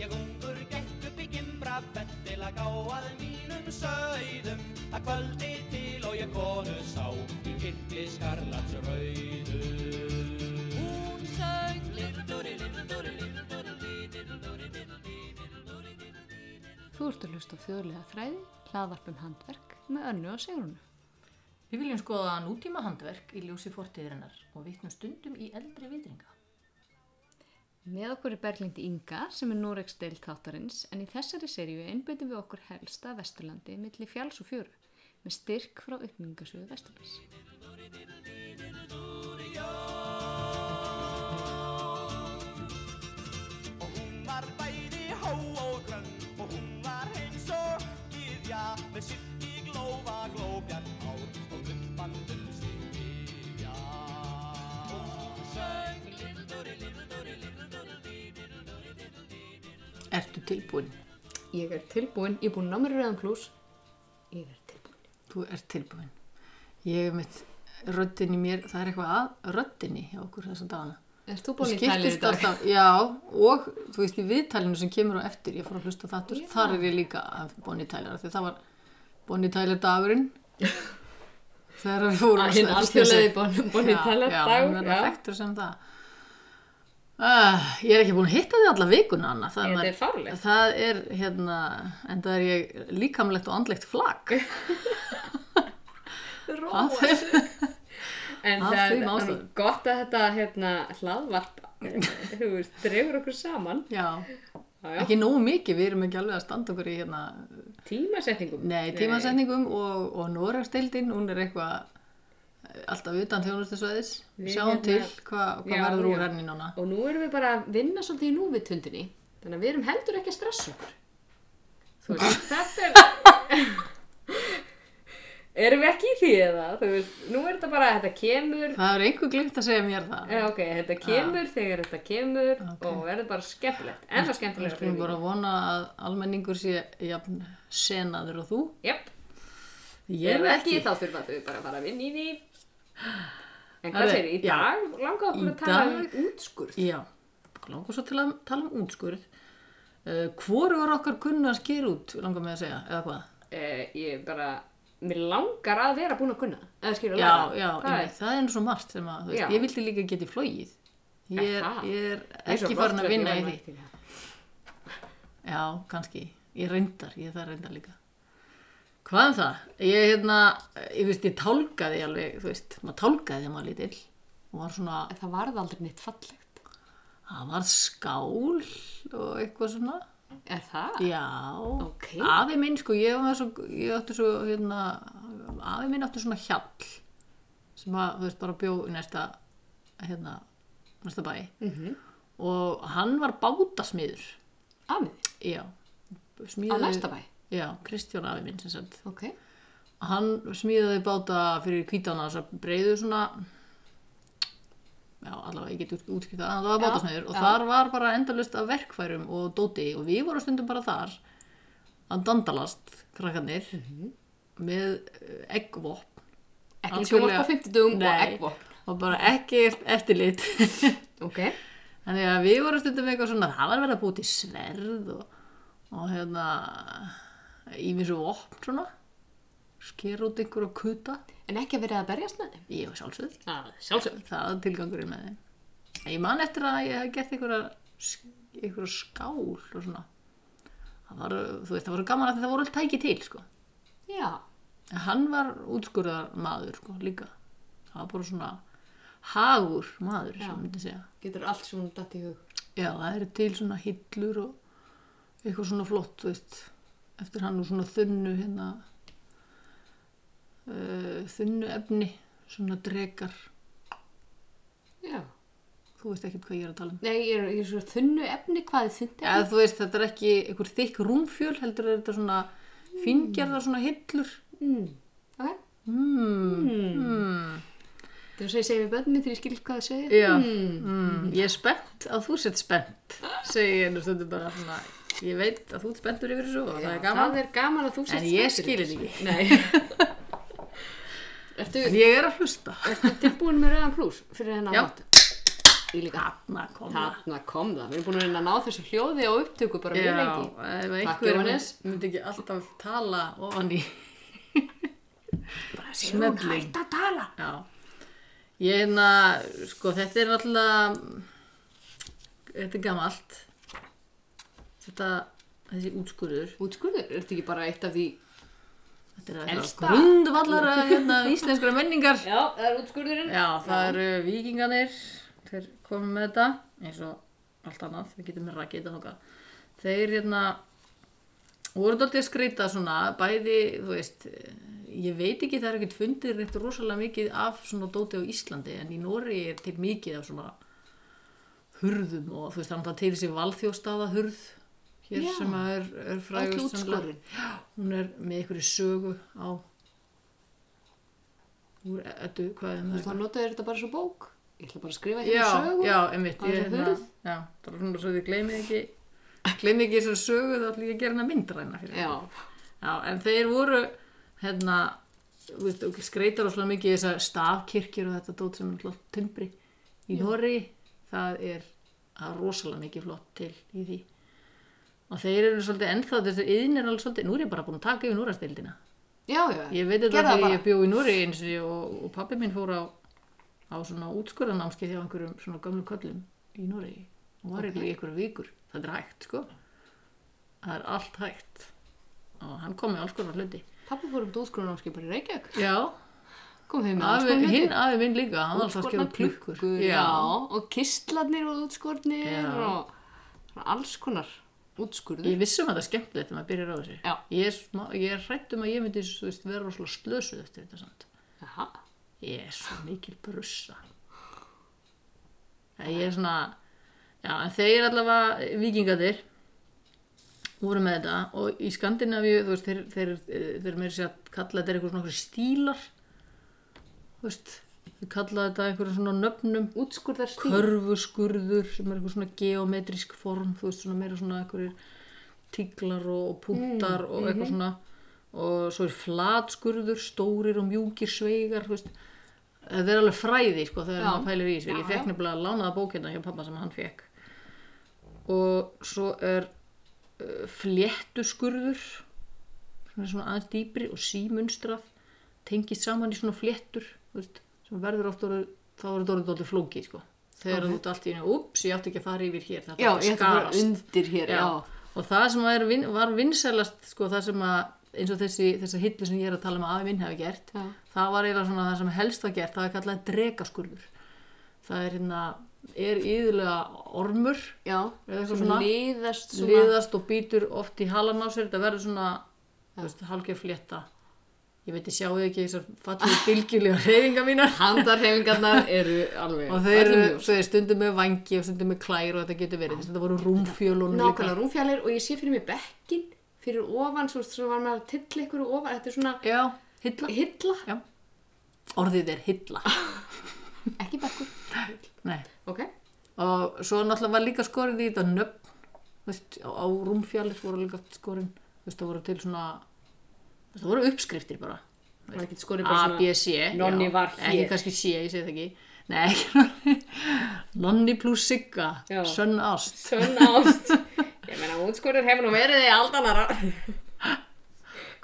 Ég ungur gekk upp í gimbra fett til að gá að mínum sögðum að kvöldi til og ég konu sá í kitti skarlats rauðu Hún sög Little-dúri, little-dúri, little-dúri, little-dúri, little-dúri, little-dúri, little-dúri Þú ert að hlusta á þjóðlega þræði, hlaðvarpum handverk með önnu og segrunu. Við viljum skoða nútíma handverk í ljósi fortíðirinnar og vitnum stundum í eldri vitringa. Með okkur er Berglind Inga sem er Norex deil þáttarins en í þessari seríu einbyttum við okkur helsta að Vesturlandi milli fjáls og fjöru með styrk frá uppmyngasöðu Vesturlands. Og hún var bæði hó og grönn Og hún var eins og gyðja Með sitt í glófa glóbjarn ár Og gumbandum sig gyðja Og hún söng Little-dúri, little-dúri, little-dúri, little-dúri, little-dúri Ertu tilbúin? Ég er tilbúin, ég er búin námið rauðan klús. Ég er tilbúin. Þú ert tilbúin. Ég hef mitt röddin í mér, það er eitthvað að röddinni hjá okkur þessa dagana. Erst þú Það búin í tælið í skiptist dag? alltaf- já, og þú veist í viðtælinu sem kemur á eftir, ég fór að hlusta þáttur, Já. þar er ég líka að Bonnie Tyler, af því það var Bonnie Tyler dagurinn. Þegar við fórum Hinn alþjóðlega búin í tælið já, dag. hann verður þekktur sem það uh, ég er ekki búin að hitta því alla vikuna Anna. það, Nei, maður- þetta er fáránlegt. það er hérna en það er ég líkamlegt og andlegt flagg Róa. það er En Af það þeim er ástæðum. gott að þetta hérna, hlaðvarp þú veist, dregur okkur saman já, já, já, ekki nógu mikið við erum ekki alveg að standa okkur í hérna tímasetningum nei, tímasetningum og, og Noregsdeildin hún er eitthvað eh, alltaf utan þjónustusvæðis Við sjáum hérna- til hvað hva Já, verður úr já. henni núna og nú erum við bara að vinna svolítið í núvitundinni þannig að við erum heldur ekki að stressa okkur þú veist, þetta er erum við ekki í því eða þú veist, nú er þetta bara, þetta kemur það er einhver glimt að segja mér það Eh, ok, þetta kemur þegar þetta kemur og verður bara skemmtilegt en það Við skemmtilegt skulum bara vona að almenningur sé jafn senaður og þú. Jöp, Ég erum við ekki, þá þurfum við bara að fara að vinna í því En hvað Herri, segir í já. dag langar okkur Í að tala um dag- útskurð Já, langar svo til að tala um útskurð. Uh, Hvorur okkar kunna að skýra út, langar mig að segja, eða hvað? eh, ég bara, mér langar að vera búin að kunna eða skilur Já, já, það einmitt, er, það er nú svo margt sem að, þú Já. veist, ég vildi líka geta í flóið. Ég er, Er það? ég er Ég er svo ekki lost farin að þegar vinna sko, ég í var því. mætt það. Já, kannski. Ég reyndar, ég það reyndar líka. Hvað um það? Ég, hérna, ég veist, ég tálkaði alveg, þú veist, maður tálkaði þegar maður lítill og var svona En það varð aldrei neitt fallegt Það var skál og eitthvað svona. er það? Já. Ok. Afi minn, sko, ég, var svo, ég átti svo, hérna, afi minn átti svona hjall sem að, þú veist, bara bjó í næsta, hérna, næsta bæ. Mhm. -hmm. Og hann var bátasmiður. Amið, Já. á Smíðaði, næsta bæ, Já, Kristján afi minn, sem sagt. ok Hann smíðaði báta fyrir kvítana þess að breyðu svona, já allavega ég get útskiptað, en það var Já, bátasmiður og já. þar var bara endalust af verkfærum og dóti og við vorum stundum bara þar að dandalast krakkarnir með eh, eggvopn. Mhm. Ekki sjóvarp á 50 dugum og eggvopn og bara ekkert eftirlit. Ok, Þannig að við vorum stundum eitthvað svona, það var verið að búti sverð og, og hérna, ímis og vopn svona, sker út einhverja kuta, en ekki að vera að berjast með þeim ég var sjálfsögð. ah, Sjálfsögð það er tilgangurinn með þeim En ég man eftir að ég hef gert einhverja einhverja skál og svona það var, þú veist, það var gaman að það voru alltaf tæki til sko. Já, en hann var útskurðar maður sko, líka það var bara svona hagur maður sem myndi segja getur allt sem hún datt í hug já, það eru til svona hillur og eitthvað svona flott þú veist, eftir hann og svona þunnu hérna uh, þunnu efni svona drekar Já þú veist ekkert hvað ég er að tala um Nei, ég er, ég er svo þunnu efni, hvað er þunni eða þú veist þetta er ekki einhver þykk rúmfjöl heldur er þetta svona fíngerðar svona hillur mm. Ok, mm. þú segir segir við bönnum þegar ég skil hvað það segir Já. Mm. ég er spennt að þú sett spennt segi ég nú stundu bara svona ég veit að þú ert spenntur yfir þessu og það er gaman Það er gaman að þú sést en ég skil þetta ekki Nei Ertu, ég er að hlusta ertu tilbúin með rauðan klús fyrir hennar Já. mat? Því líka Þarna kom það. Þarna kom það, við erum búin að reyna að ná þessu hljóði og upptöku bara mjög lengi. ef Takk, einhver Jóhannes. mynd- myndi ekki alltaf tala ofan í Bara Sigrún, hætt að tala. Já. Ég hérna, sko, þetta er náttúrulega, þetta er gamalt. Þetta, þessi útskurður. Útskurður, er þetta ekki bara eitt af því? Þetta er Elsta. eitthvað grundvallara hérna, íslenskura menningar. Já, það er útskurðurinn. Já, það eru vikinganir, þeir komum með þetta, eins og allt annað, við getum rakið þetta þókað. Þeir hérna, voru dálítið að skreita svona, bæði, þú veist, ég veit ekki það er ekkert fundir reitt rosalega mikið af svona dóti á Íslandi, en í Nóri er til mikið af svona hurðum og þú veist, þannig að til þessi valþjóstaða hurð hér Já. sem að er, er Öll frægust sennilega. útskurðurinn. Hún er með einhverju sögu á úr eddu, hvað er Þú það? veist, hann notaði þetta bara svo bók. Ég ætla bara að skrifa hérna já, sögu. já, einmitt á ég, þessa hérna, hurð. já, það var svona svo þið gleymið ekki gleymið ekki þessar sögu þá ætlum ég að gera hana myndræna fyrir Já, já, en þeir voru hérna, þú veist, og skreitar og mikið í þessar stafkirkjur og þetta dót sem er alltaf tumbri í Norri það er það er rosalega mikið flott til í því og þeir eru svolítið ennþá þessu yðin er alveg svolítið, nú er ég bara búin að taka yfir núrastildina já, já. ég veit þetta Gerðu það þegar bara. ég bjó í Núri eins og, ég- og, og pappi minn fór á, á svona útskurðanámskeið hjá einhverjum svona gamlu köllum í Núri og var ekki okay. einhverjum vikur það er hægt sko það er allt hægt og hann kom með alls konar hluti Pappi fór um til útskurðurnámskip bara í Reykjavík. já, Kom þeim með alls afi, konar hluti. hinn afi minn líka hann var alltaf að skjóra Útskornar klukkur klukkur, já. Og kistlarnir og útskornir Já. og svona alls konar útskurður. ég vissum að það er skemmtilegt þegar maður byrjar á þessu Já. ég er, smá- ég er hrætt um að ég myndi þú veist, vera rosalega slösuð eftir þetta samt Jaha. Ég er svo mikil brussa. Ég er svona, já, en þeir allavega vikingadir voru með þetta og í Skandinavíu, þú veist, þeir, þeir, þeir meiri sér að kalla þetta eitthvað svona einhverjir stílar, þú veist, þeir kalla þetta einhverjum svona nöfnum, Útskurðarstíl. körfuskurður sem er eitthvað svona geometrisk form, þú veist, svona meira svona einhverjir tíklar og, og Mm, púntar og mhm. eitthvað svona og svo er flatskurður, stórir og mjúkir sveigar, þú veist, það er alveg fræði, sko, þegar Já. maður pælir í þessu. Ég Já, fekk já. nefnilega að lánaða bókina hjá pappa sem hann fekk. Og svo er uh, fléttuskurður, sem er svona aðeins dýpri og símunstrað, tengist saman í svona fléttur, þú veist, sem verður oft orðið, þá er þetta orðið dálítið flókið, sko. Þegar Ok. þú ert allt í einu, ups, ég átti ekki að fara yfir hér, þetta Já, átti ég að ætla bara skarast. undir hér, já. Já. Og það sem er, vin- var vinsælast, sko, það sem að, eins og þessi, þessa hillu sem ég er að tala um að afi minn hafi gert, Já. það var eiginlega svona það sem helst var gert, það er kallað dregaskurður. Það er hérna, er yðurlega ormur, Já. eða eitthvað Svona svona, liðast svona. liðast og býtur oft í halan á sér, þetta verður svona, þú veist, halgjör flétta. Ég veit, ég sjáu ekki þessar fallið bylgjulega reyfinga mínar. Handarhefingarnar eru alveg Og þeir eru, öllum ljós. þeir stundum með vangi og stundum með klær og þetta getur verið, þess að þetta voru rúmfjölunum nákvæmlega rúmfjallir og ég sé fyrir mig bekkin fyrir ofan, svo sem var maður að tilla ykkur ofan, þetta er svona Já, hilla. hilla, Já. Orðið er hilla. ekki bekkur Nei. ok, Og svo náttúrulega var líka skorið í þetta nöfn, þú veist, á, á rúmfjallir voru líka skorin, þú veist, það voru til svona, þú veist, það voru uppskriftir bara. maður getur skorið bara A, svona B, C. já. Nonni var Ekki hér. kannski C, ég segi það ekki. Nei, ekki nonni. Nonni pluss Sigga, Já. sönn ást. sönn ást ég meina, útskorður hefur nú verið í aldanara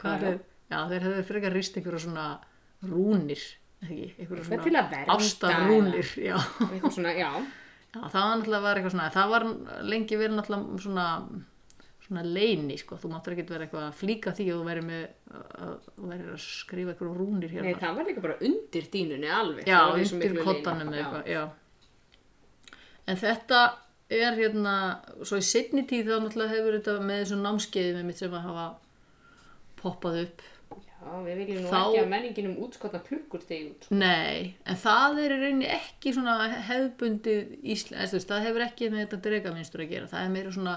Hvað Já. er? Já, þeir hefðu frekar rist einhverja svona rúnir, eða ekki, einhverja Eitthvað til að vernda, svona ástarrúnir, já. eitthvað svona, já Já, það var náttúrulega var eitthvað svona, það var lengi verið náttúrulega svona, svona leini, sko, þú máttur ekkert vera eitthvað að flíka því og þú verið með, að, þú verið að skrifa eitthvað rúnir Nei, hérna. það var líka bara undir dýnunni alveg já, Það var í svo undir miklu kottanum leyni. eða eitthvað, já. En þetta er hérna, svo í setni tíð þá náttúrulega hefur þetta með þessum námskeiðum mitt sem að hafa poppað upp. já, já, við viljum nú Þá- ekki að menningin um útskotna klukkur stegi út Nei, en það er í rauninni ekki svona hefðbundið Ísland, veist, það hefur ekki með þetta dregaminstur að gera, það er meira svona...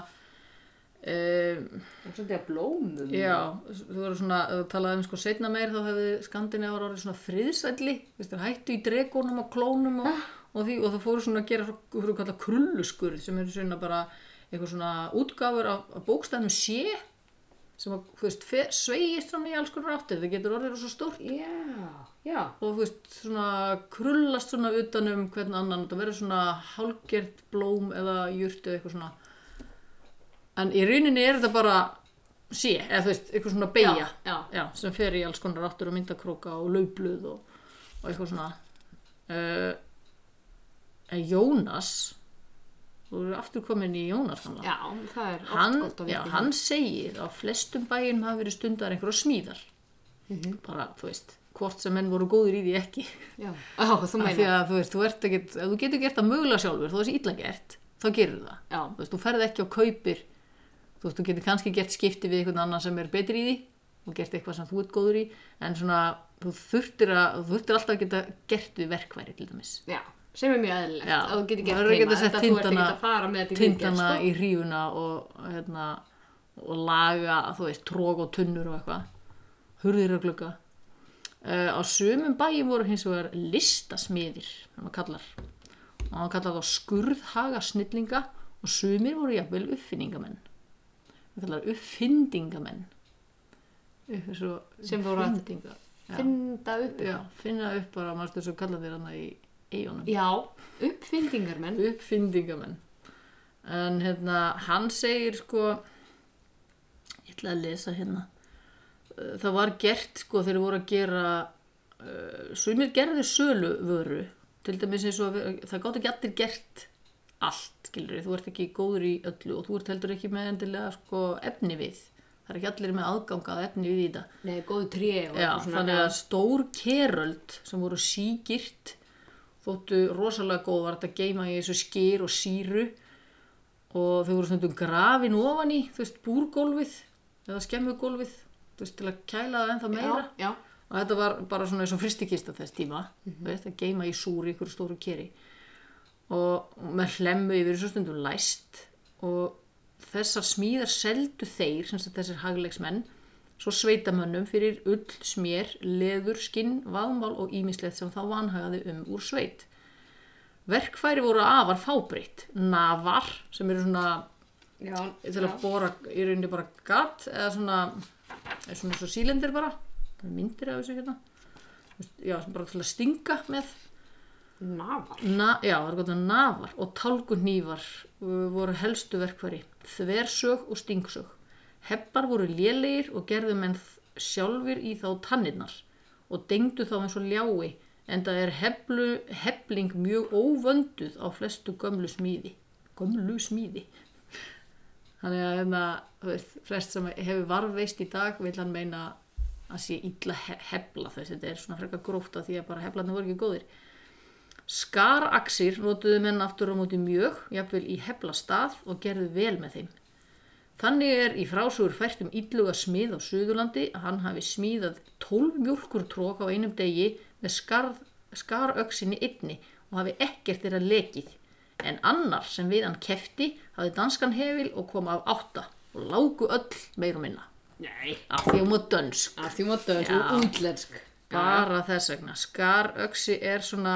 Um, það er svolítið að blómum Já, þú voru svona, ef þú talaði um sko setna meir þá hefði Skandinavar orðið svona friðsælli, veist, þeir hættu í dregunum og klónum og, og því og það fóru svona að gera svo, þú voru kallað krulluskurð sem eru svona bara eitthvað svona útgáfur af, af bókstæðum sé sem að, þú veist, fe- sveigist fram í alls konar áttir, það getur orðið svo stórt Já, já. og þú veist, svona krullast svona utan um hvern annan það verður svona hálgert blóm eða jurt eða eitthvað svona en í rauninni er þetta bara sé, eða þú veist, eitthvað svona beigja Já, já. sem fer í alls konar áttur og myndakróka og laufblöð og, og eitthvað svona uh, en Jónas þú eru aftur komin í Jónas gamla. Já, það er oft hann, gott að já, vita. hann segir að á flestum bæjum hafa verið stundar einhverja smíðar bara, þú veist, hvort sem menn voru góður í því ekki Já, Ó, Mhm. þú af því meina. að þú veist, þú ert ekki ef þú getur gert það mögulega sjálfur, þú veist illa gert þá gerir það, Já. þú veist, þú ferð ekki og kaupir þú veist, þú getur kannski gert skipti við einhvern annan sem er betri í því og gert eitthvað sem þú ert góður í en svona, þú þurftir, að, þú þurftir alltaf að geta gert við verkværi til dæmis Já, sem er mjög eðlilegt. Já, Já. Þú getur gert maður er ekki heima. að Þetta setja þú ert ekki tindana, að fara með sko. þetta í tindana viðgerð, í hrífuna og, hérna, og laga, þú veist, trók og tunnur og eitthvað, hurðir og glugga. Uh, á sumum bæjum voru hins vegar listasmiðir, hann kallar, og hann kallar þá skurðhaga snillinga og sumir voru jafnvel uppfinningamenn. Hann kallar uppfindingamenn. Upp, svo, Sem voru að- uppfindinga- sko. Finda upp. Já, finna upp bara, maður stu svo kalla þér hana í eigunum Já, uppfindingar menn. uppfindingamenn en hérna hann segir sko ég ætla að lesa hérna Uh, það var gert sko þegar voru að gera uh, sumir gerði sölu vöru til dæmis eins og að- það gátt ekki allir gert allt skilur þú ert ekki góður í öllu og þú ert heldur ekki með endilega sko efni við það er ekki allir með aðgangað efni við í þetta Nei, góðu tré og Já, eitthvað þannig að stór keröld sem voru sígirt þóttu rosalega góð var þetta geima í þessu skýr og síru og þau voru stundum grafin ofan í, þú veist, búrgólfið eða skemmugólfið, þú veist, til að kæla það ennþá meira Já, já. og þetta var bara svona eins og fristikista þess tíma þú veist, að geima í súri ykkur stóru keri og með hlemmu yfir þessu stundum læst og þessar smíðar seldu þeir, sem sagt þessir hagleiksmenn svo sveitamönnum fyrir ull, smér, leður, skinn, vaðmál og ímislegt sem þá vanhagaði um úr sveit verkfæri voru afar fábreytt navar, sem eru svona Já, til að bóra í rauninni bara gatt eða svona eða svona svo sílendir bara það er myndir af þessu hérna já, sem bara til að stinga með Nafar. Na, já, það er gott að nafar og tálkunývar voru helstu verkfæri þversög og stingsög heppar voru lélegir og gerðu menn þ- sjálfir í þá tanninnar og dengdu þá eins og ljái en það er heflu, hefling mjög óvönduð á flestu gömlu smíði gömlu smíði Þannig að hérna, þú veist, flest sem hefur varðveist í dag vil hann meina að sé illa he hefla þess, þetta er svona frekar gróft af því að bara heflarnir voru ekki góðir. Skaraxir notuðu menn aftur á móti mjög, jafnvel í hefla stað og gerðu vel með þeim. Þannig er í frásugur fært um illuga smið á Suðurlandi að hann hafi smíðað 12 mjölkur trók á einum degi með skarð, skaröksinni einni og hafi ekkert þeirra lekið. En annar sem við hann kefti hafi danskan hefil og kom af átta og lágu öll meir og minna. Nei. Af því hún var dönsk. Af því maður döðs Já. og útlensk. Bara þess vegna. Skaröksi er svona,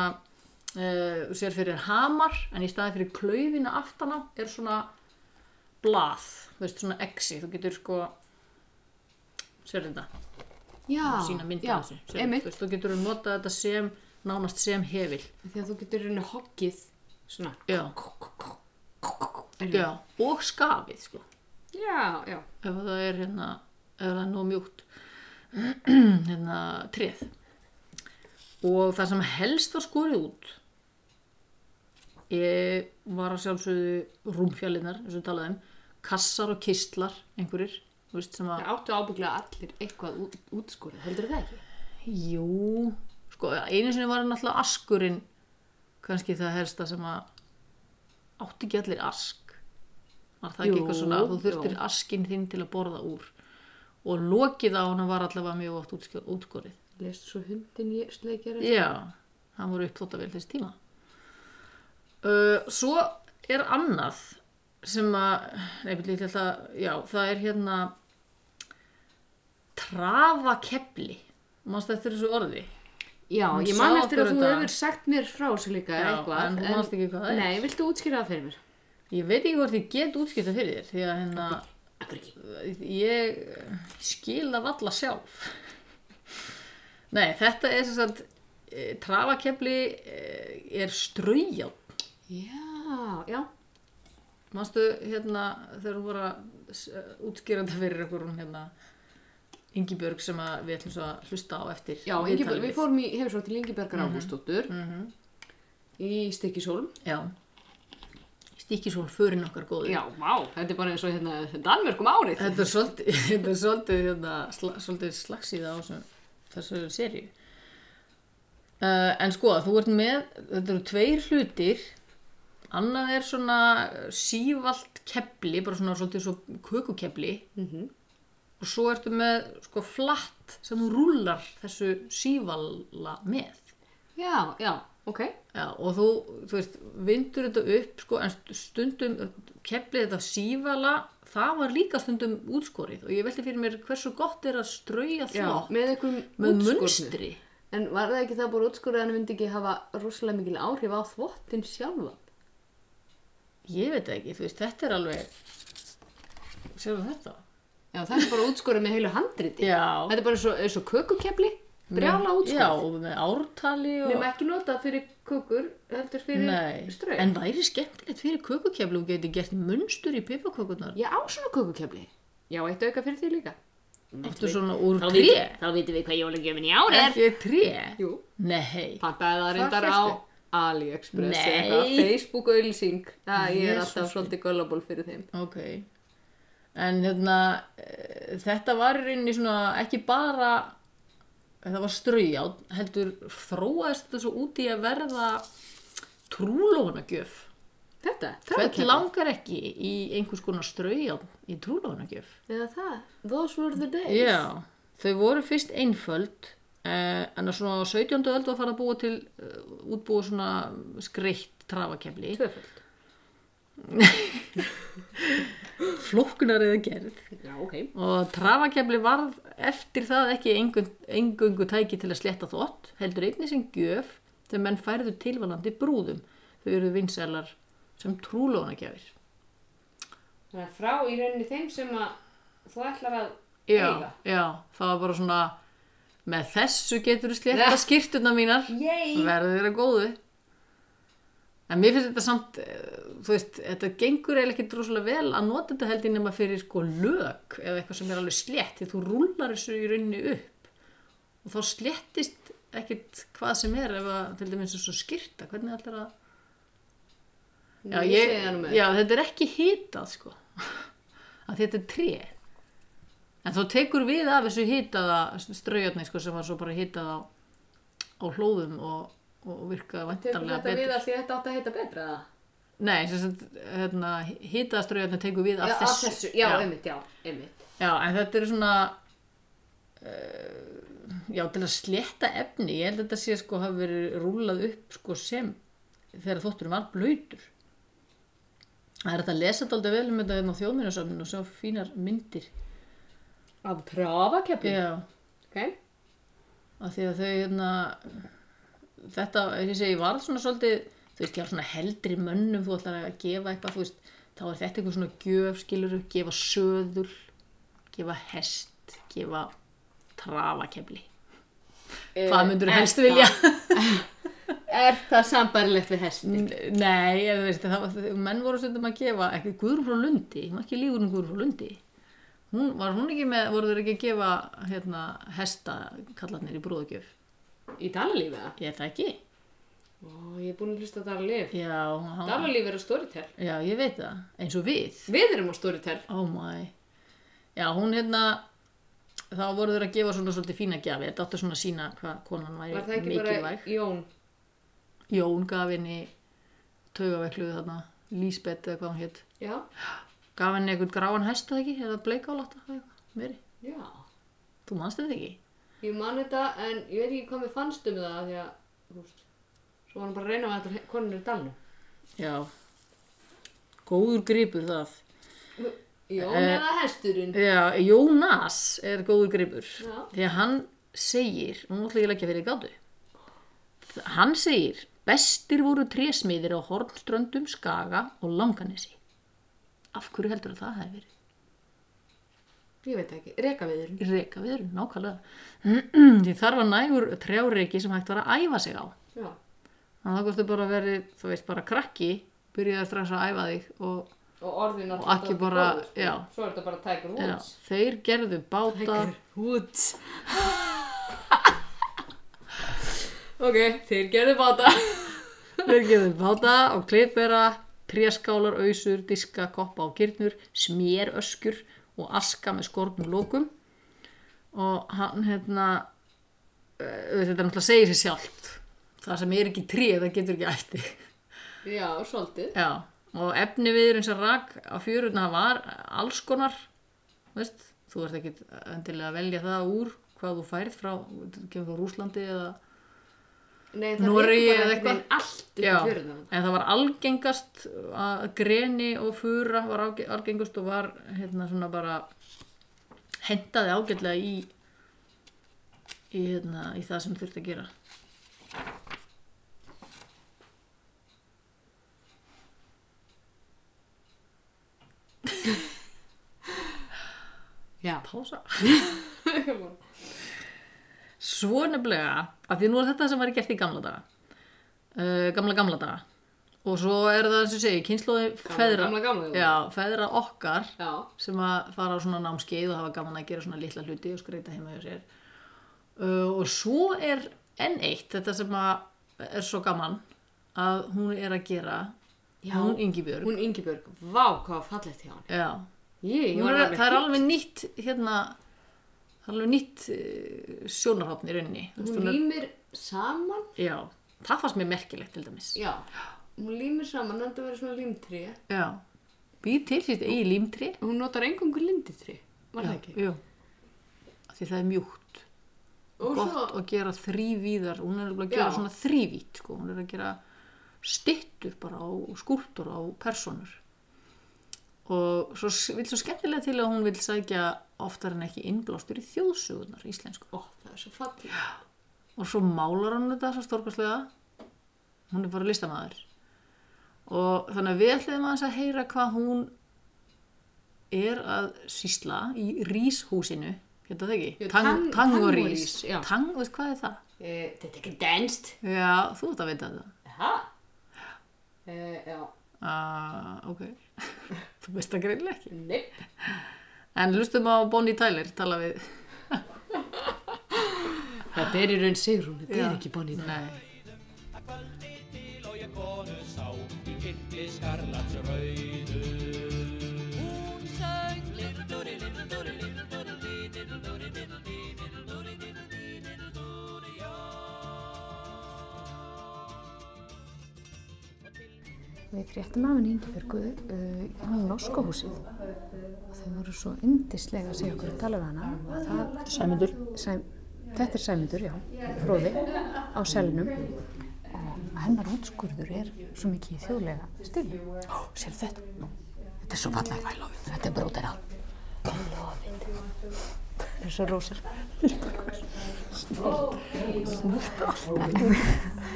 uh, sér fyrir hamar en í staði fyrir klaufina aftan á er svona blað, þú veist svona exi, þú getur sko, sér þetta. Já. sína myndir já, af þessu sem, Einmitt. þú veist, þú getur að nota þetta sem nánast sem hefil Því að þú getur henni hoggið svona. já, Já. já. og skafið sko, Já, já. ef það er hérna ef það er nóg mjúkt hérna treð og það sem helst var skorið út ég var að sjálfsögðu rúmfjallinnar eins og við talaðum, um, kassar og kistlar einhverjir, þú veist sem að Það áttu ábygglega allir eitthvað út, útskúrið, heldur það ekki? Jú, sko, einu sinni var náttúrulega askurinn kannski það helsta sem að átti ekki allir ask var það ekki Jú, eitthvað svona þú þurftir jú. askinn þinn til að borða úr og lokið á hana var allavega mjög oft útskjör- útkorið Lestu svo hundin ég sleikjara? Já, hann voru uppþóttavél þess tíma uh, Svo er annað sem að nefnir lítið það, já, það er hérna trafakepli Manstu eftir þessu orði? Já, Hún ég sá man eftir að okkur þú þetta. hefur sagt mér frá þessu líka Já, eitthvað. en þú manst ekki hvað það er. Nei, viltu útskýra það fyrir mér? Ég veit ekki hvort ég get útskipta fyrir þér því að hérna Akkur ekki. ég skil það valla sjálf nei, þetta er sem sagt eh, trafakefli eh, er ströjjál Já, já. manstu hérna þegar hún voru að s- eh, útskýra þetta fyrir ykkur hún hérna Ingibjörg sem að við ætlum svo að hlusta á eftir Já, viðtalið Ingibjörg, við fórum í hefur svo til Ingebergar Mhm. Ágústóttur í Stykkishólm. já stíkisól förin okkar góður Já, vá, þetta er bara eins og hérna Danmörk um árið. þetta er svolítið, þetta er svolítið, hérna, sla, svolítið slagsíða á sem, þessu seríu uh, en sko þú ert með, þetta eru tveir hlutir annað er svona sívalt kepli bara svona svolítið svo kökukepli og svo ertu með sko flatt sem þú rúlar þessu sívala með Já, já, ok. Já, og þú, þú veist, vindur þetta upp sko, en stundum keflið þetta sívala, það var líka stundum útskorið og ég velti fyrir mér hversu gott er að strauja Já, þvá með einhverjum með útskornu. munstri En var það ekki það bara útskorið að hann myndi ekki hafa rosalega mikil áhrif á þvottin sjálfan? ég veit það ekki, þú veist, þetta er alveg sérðu þetta? Já, það er bara útskorið með heilu handriti. Já, Þetta er bara eins og, eins og kökukefli, brjála útskorið. já, og með ártali og Nefnum ekki notað fyrir kökur, heldur fyrir Nei, ströð. en væri skemmtilegt fyrir kökukefli og geti gert munstur í pipakökunar Ég á svona kökukefli. Já, eitt auka fyrir því líka. Þetta svona úr tré þá vitum við hvað jólagjöfin í ári Ekki tré? Jú, Nei pantaði það reyndar á fékkstu? AliExpress Nei. eða Facebook auðlýsing. Það ég er Jesús alltaf svolítið gullible fyrir þeim. Ok. En hérna, eh, þetta var í rauninni svona ekki bara, það var ströjátt, heldur þróaðist þetta svo út í að verða trúlónagjöf. Þetta, Hvern tröðkefli. langar ekki í einhvers konar ströjátt í trúlónagjöf? Eða það, those were the days. Já, þau voru fyrst einföld, eh, en á svona á 17. öld var farið að búa til, eh, útbúa svona skreitt trafakefli. Tvöföld. Flóknar eða gerð. Já, ok. og trafakefli varð eftir það ekki engungu tæki til að sletta þvott, heldur einnig sem gjöf þegar menn færðu tilvalandi brúðum þau eru vinsælar sem trúlónagjafir Það er frá í rauninni þeim sem að þú ætlar að já, já, það var bara svona með þessu getur þú sletta Ja. skýrtuna mínar Yay! verður þeirra góðu en mér finnst þetta samt eh, þú veist, þetta gengur eiginlega ekki droslega vel að nota þetta heldur nema fyrir sko lög eða eitthvað sem er alveg slett því þú rúlar þessu í rauninni upp og þá slettist ekkit hvað sem er ef að til dæmis eins og skýrta hvernig ætlar að já, Ég ég, segi það nú með. já, þetta er ekki hitað sko að þetta er tré en þá tekur við af þessu hitaða straujarni sko sem var svo bara hitað á, á hlóðum og, og virkaði Tekur vantarlega þetta betur við að því að þetta átt að heita betra eða? nei, sem sagt, hérna, hitaða straujarni tekur við af Já, þessu, Já, já, einmitt, já, einmitt. Já, en þetta er svona uh, já, til að sletta efni ég held að þetta sé sko hafa verið rúlað upp sko sem þegar þótturum var blöytur það er hægt að lesa þetta aldrei vel um þetta hérna á þjóðmjörnasöfninu og sjá fínar myndir Af trafakeppi. já, Ok. af því að þau hérna þetta, eins og ég segi, var svona svolítið þú veist, ég var svona heldri mönnum þú ætlar að gefa eitthvað, þú veist þá er þetta eitthvað svona gjöf, skilur gefa söður, gefa hest gefa trafakefli Hvað myndirðu helst vilja? Eh, Er það sambarilegt við Mm. hestin? Nei, ég veist, það, var- menn voru stundum að gefa ekki Guðrún frá Lundi, ég má ekki lígur um Guðrún frá Lundi hún, var hún ekki með, voru þeir ekki að gefa hérna, hesta kallarnir í brúðugjöf Í dalalífi það? ég er það ekki Ó, ég er búin að hlusta á dalalíf. já, hann, Dalalíf er á storytell. já, ég veit það, eins og við Við erum á storytell. Oh my. Já, hún hérna, þá voru þeir að gefa svona svolítið fína gjafi. Þetta átti svona að sína hvað konan væri Var það ekki mikilvæg. bara Jón? Jón gaf henni taugavekluð þarna, Lísbeth eða hvað hún hétt. Já. Gaf henni einhvern gráan hest eða ekki, eða bleikálátta eða eitthvað, meiri. Já. Þú manst þetta ekki? Ég man þetta en ég veit ekki hvað mér fannst um það af því að, þú veist, svo var hann bara að reyna að þetta konur í dalnum. Já. Góður gripur það. Jón Eh, eða hesturinn? Já, Jónas er góður gripur. Já. Því að hann segir, og nú ætla ég að leggja fyrir gátu, hann segir, bestir voru trésmiðir á Hornströndum, Skaga og Langanesi. Af hverju heldur það hafi verið? ég veit það ekki, reka við þér reka við erum, nákvæmlega því þarf að nægur trjáreiki sem hægt var að æfa sig á já, þannig að þá kostu bara að veri, þú veist, bara krakki byrjaði strax að æfa þig og og orðin Og ekki bara- já. svo er þetta bara Tiger já, Woods þeir gerðu báta Woods ok, þeir gerðu báta þeir gerðu báta og klippera tréskálar, ausur, diska, koppa og gyrnur smér öskur og aska með skornum lókum og hann hérna eh, þetta náttúrulega segir sér sjálft það sem er ekki tré, það getur ekki ætti já, svolítið Já, og efni viðurinn sem rak á fjöruna var alls konar, veist, þú ert ekki endilega að velja það úr hvað þú færð frá, kemur frá Rúslandi eða, Nei, það Noregi Noregi eða eða eitthvað. eitthvað allt upp í Já. fjörðunum en það var algengast að greni og fura var áge- algengast og var hérna svona bara hendaði ágætlega í, í, hérna, í það sem þurfti að gera. já, Pása. Svo nefnilega, af því nú er þetta sem var gert í gamla daga. Uh, gamla, gamla daga. Og svo er það, eins og ég segi, kynnslóði feðra, gamla, gamla, já. já, feðra okkar já, sem að fara á svona námskeið og hafa gaman að gera svona litla hluti og skreita heima hjá sér. Uh, og svo er enn eitt, þetta sem að er svo gaman, að hún er að gera, Já. hún Ingibjörg. hún Ingibjörg vá, hvað fallegt hjá hann Já, ég, ég Hún var er, alveg það er alveg nýtt hérna það er alveg nýtt uh, sjónarhófn í rauninni Þú veist, hún límir saman er, já, það fannst mér merkilegt til dæmis já, hún límir saman en það verið svona límtré já. býð til sitt eigi límtri hún notar engungu linditré var það ekki Jú. Af því það er mjúkt og gott svo, að gera þrývíðar hún er alveg að gera Já. svona þrývít sko. hún er að gera styttur bara á skúlptur á personur og svo s- vill svo skemmtilega til að hún vill sækja oftar en ekki innblástur í þjóðsögunar íslensku ó, það er svo fallegt og svo málar hann þetta svo stórkastlega hún er bara listamaður og þannig að við ætlum aðeins að heyra hvað hún er að sýsla í ríshúsinu hérna það ekki, Jú, tang- tangurís tangurís, já. tang, veist hvað er það? Eh, þetta er ekki denst já, þú ert að veita þetta ha? Uh, já, uh, ok, þú veist það greinlega ekki nepp en lustum á Bonnie Tyler tala við þetta er í raun Sigrún, þetta Já. er ekki Bonnie Tyler. Nei. Að kvöldi til og ég konu sá Í kitli skarlats rauðu Hún söng Diddle-dúri, diddle-dúri, diddle-dúri-dí, diddle-dúri, diddle-dí, diddle-dúri, diddle-dí, diddle-dúri, já. Við fréttum af henni Ingibjörgu uh, á Norskóhúsið og þau voru svo yndislega að segja okkur að tala við hana að það, Sæmundur sæm, þetta er Sæmundur, já, fróði á selnum og hennar útskurður er svo mikið í þjóðlega stíli. Ó, sér þetta? Þetta er svo fallegt. I love it. Þetta er bara út af það. I love it. Það er svo rósir.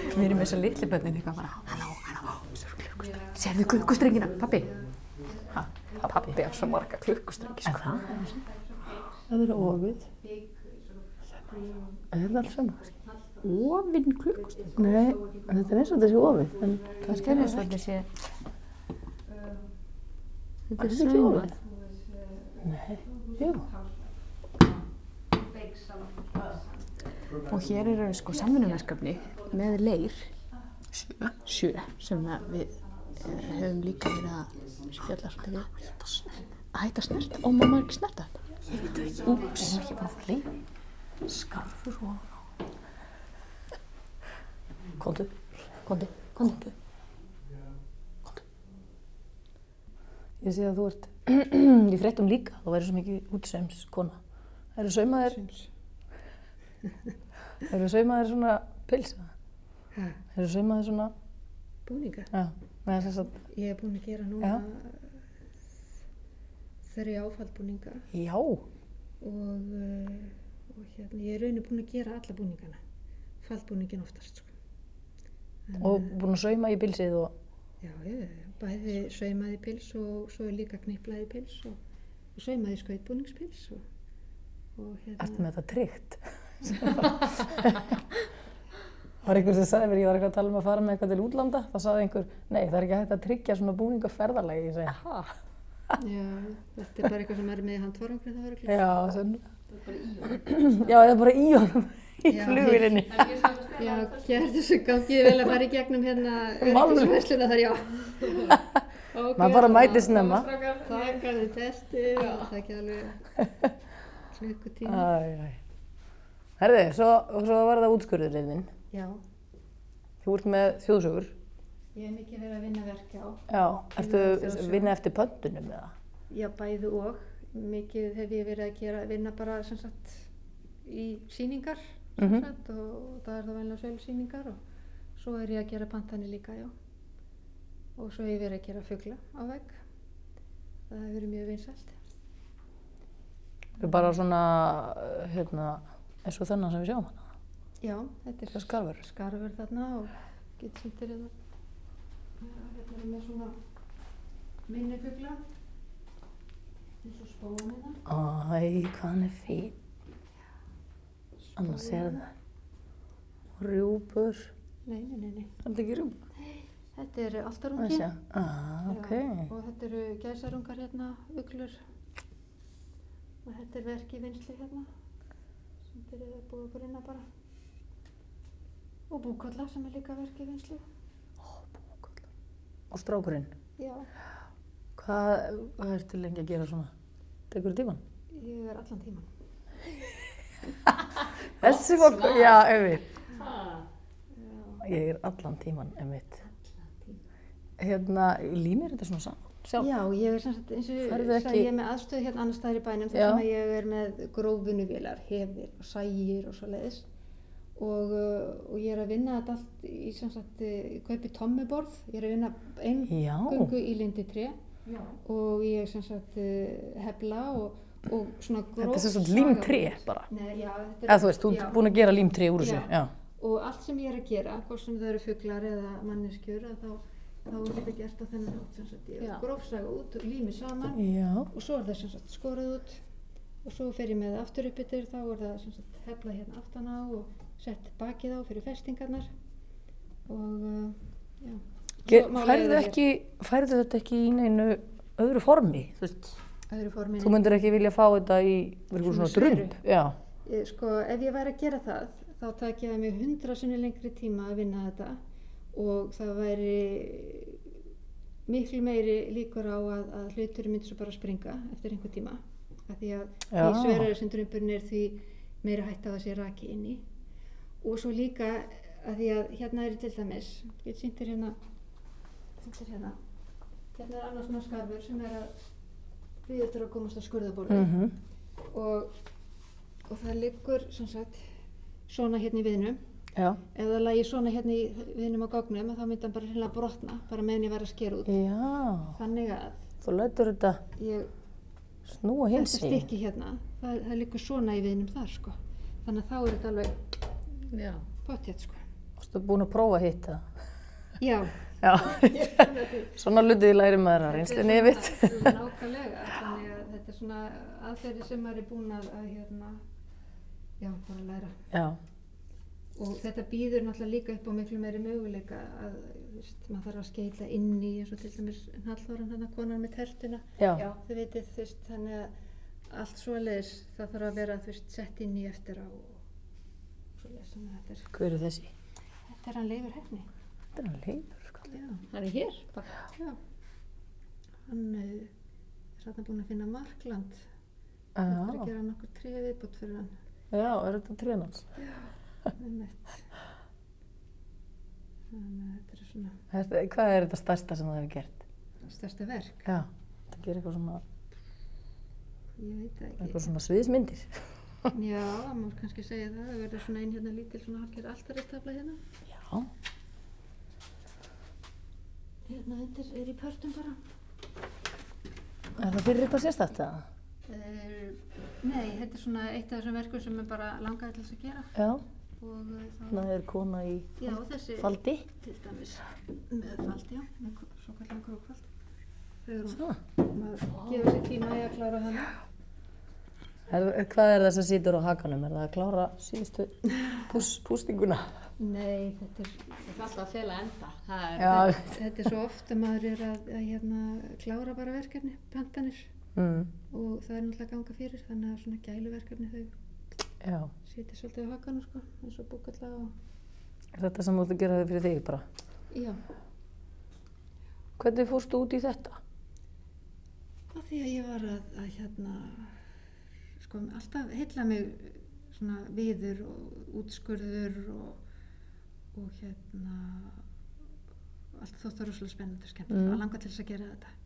Við erum með þess að litli börnin eitthvað bara Halló, halló, sér klukkustrengi Sérðu klukkustrengina, pappi? Ha, pappi á svo marga klukkustrengi sko. En það? Það er ofið. Er það alls saman? Ofinn klukkustrengi Nei, þetta er eins og þetta sé ofið, en kannski er það Það er svo ekki. ekki sé Þetta Er þetta er ekki sæmur ofið? Nei, jú. Og hér eru sko samvinnumerskapni með leir Sjö sem að við eh, höfum líka verið að spjalla svolítið við Hætta snert Hætta snert? Ó, mamma er ekki snerta þetta Úps. Ég er ekki bara að flýja. Skarfur og ofan á. Kondu, Kondi, kondi kondu. Ég sé að þú ert, ég frétt um líka, þú væri svo mikið útseims kona. Það eru saumaðir, það eru saumaðir svona pilsa. Það eru saumaðir svona, búninga. já, með þess að, Ég er búin að gera núna þrjá áfallbúninga já, og, uh, og hérna, ég er raunin búin að gera alla búningana. Fallbúningin oftast, sko. og búin að sauma í bilsið og Já, ég, bæði saumaði pils og svo er líka kniplaði pils og og saumaði skautbúningspils og, og Ertu með hérna, þetta tryggt? var einhver sem sagði mér, ég var eitthvað að tala um að fara með eitthvað til útlanda, þá sagði einhver, nei það er ekki hægt að tryggja svona búninga ferðalagi, ég segi, ha? já, þetta er bara eitthvað sem er með handvarangrið það verður Já, svona. Já, það er bara í honum, í Já. flugilinni. Já, gerðu svo gangi ég vel að fara í gegnum hérna öryggisversluna þar, já. okay, Maður bara mætir snemma. Þakka þið testi og það ekki alveg klukkutíma. Æ, æ. Herði, svo, og svo var það útskurðurinn þinn. Já, Þú ert með þjóðsögur. ég hef mikið verið að vinna verkja á. Já. Ertu með þjóðsögur. að vinna eftir pöntunum eða? Já, bæði og. Mikið hef ég verið að gera, vinna bara sem sagt í síningar sem Mhm. sagt og það er þá venlega sölusýningar og svo er ég að gera pantani líka, já. Og svo hef ég verið að gera fugla á vegg. Það hefur verið mjög vinsælt. Þú er bara svona, hérna, eins og þennan sem við sjáum hana. Já, þetta Það er er skarfur. skarfur þarna og get sýndir hérna. Já, Hérna er með svona minni fugla. Eins og spóan hérna. Æ, hvað hann er fín. Annars er það. Og Rjúpur. Nei, nei, nei, nei. Er þetta ekki rjúpur? Þetta er Það áltarungi. sé. Ah, ok. Og þetta eru gæsarungar hérna, uglur. Og þetta er verk í vinslu hérna. Sem byrjaði að búa okkur innan bara. Og búkolla sem er líka verk í vinslu. Og strákurinn. Já, Hvað, hvað ertu lengi að gera svona? Tekur tíman? ég er allan tíman. Þessi var, já, einmitt. Ha, Ég er allan tíman, einmitt. Hérna, línir þetta svona saman? Sjálf? Já, ég er sem sagt eins og Færðu sagði, ekki- ég er með aðstöð hérna annar staðar í bænum þar Já. sem að ég er með grófinuvélar, hefir og sægir og svo leiðis og, uh, og ég er að vinna þetta allt í sem sagt, uh, kaupi tommuborð, ég er að vinna Já. eingöngu í lindi 3 og ég er sem sagt uh, hefla og, og svona gróf Þetta er sem sagt límtré bara. Nei, já, þetta er- Eða þú veist, þú já. ert búin að gera límtré úr þessu. Já. Já. og allt sem ég er að gera, hvort sem það eru fuglar eða manneskjur að þá, þá er þetta gert á þennan hátt sem sagt, ég Já. grófsaga út og lími saman Já. og svo er það sem sagt skorað út og svo fer ég með það aftur upp yfir þá er það sem sagt heflað hérna aftan á og sett bakið á fyrir festingarnar og uh, já Ge- Svo má Færðu, leiða þér. ekki, færðu þetta ekki í neinu öðru formi? Þú, veist, öðru þú forminu myndir ekki vilja fá þetta í verður Svona svona sviru. drömp. Já. ég, sko ef ég væri að gera það þá tæki það mig hundra sinni lengri tíma að vinna þetta og það væri miklu meiri líkur á að, að hlutur myndi svo bara springa eftir einhver tíma af því að því Já. sverari sem drömburinn er því meira hægt að það sé raki inn í og svo líka að því að hérna er til dæmis ég sýndir hérna sýndir hérna hérna er annars svona skarfur sem er að við eftir að komast á skurðaborði Mm og, og það liggur sem sagt svona hérna í viðnum Já. ef það lagi svona hérna í viðnum á gognum þá myndi hann bara hérna brotna bara meðan ég væri að skera út Já. þannig að Þú lætur þetta ég, snúa hins þetta stykki hérna það, það liggur svona í viðnum þar sko þannig að þá er þetta alveg Já. pottjætt sko Þú ert búin að prófa hitt það. já, Já. svona lutið læri maður að reynslinni yfir. nákvæmlega þannig að þetta er svona aðferði sem maður er búin að, að hérna já, bara læra Já. og þetta býður náttúrulega líka upp á miklu meiri möguleika að þú veist, maður þarf að skeila inn í eins og til dæmis Hallþóran hann að konan með tertuna Já. þið veitir þú veist þannig að allt svoleiðis það þarf að vera þú veist sett inn í eftir á og svoleiðis þannig að þetta er, Hver er þessi? þetta er hann leifur hefni Þetta er hann leifur, sko. já, Hann er hér. bara. já hann eh, er þarna búin að finna markland þetta er að Já. gera nokkur trefið viðbútt fyrir hann Já, er þetta trénans? einmitt. þannig að þetta er svona Þetta- Hvað er þetta stærsta sem það hefur gert? stærsta verk Já. Það gerir eitthvað svona, ég veit það ekki eitthvað svona sviðismyndir. Já, það má kannski segja það. Það verður svona einn hérna lítil svona halkir alltaristafla hérna. Já. Hérna undir er í pörtum bara. Er það fyrir eitthvað sérstætt eða? Uh, nei, þetta er svona eitt af þessum verkum sem er bara langaði til þess að gera. Já. Og eh, þá, Það er kona í já þessi faldi. til dæmis með fald, já, með svo kallan grókvald. þegar hún- maður gefur sér tíma í að klára hann Er, hvað er það sem situr á hakanum? Er það að klára síðustu pús, pústinguna? nei, þetta er Það er alltaf að fela enda. Það er, Já. þetta er svo oft að maður er að, að hérna, klára bara verkefni, pantanir Mm, og það er náttúrulega að ganga fyrir þannig að svona gæluverkefni þau já. sitja svolítið á hakanum sko, eins og búkalla og Er þetta sem þú ert að gera þau fyrir þig bara? já, Hvernig fórstu út í þetta? af því að ég var að, að hérna sko, alltaf heilla mig svona viður og útskurður og, og hérna allt þótt var rosalega spennandi og skemmt mm. að langa til þess að gera þetta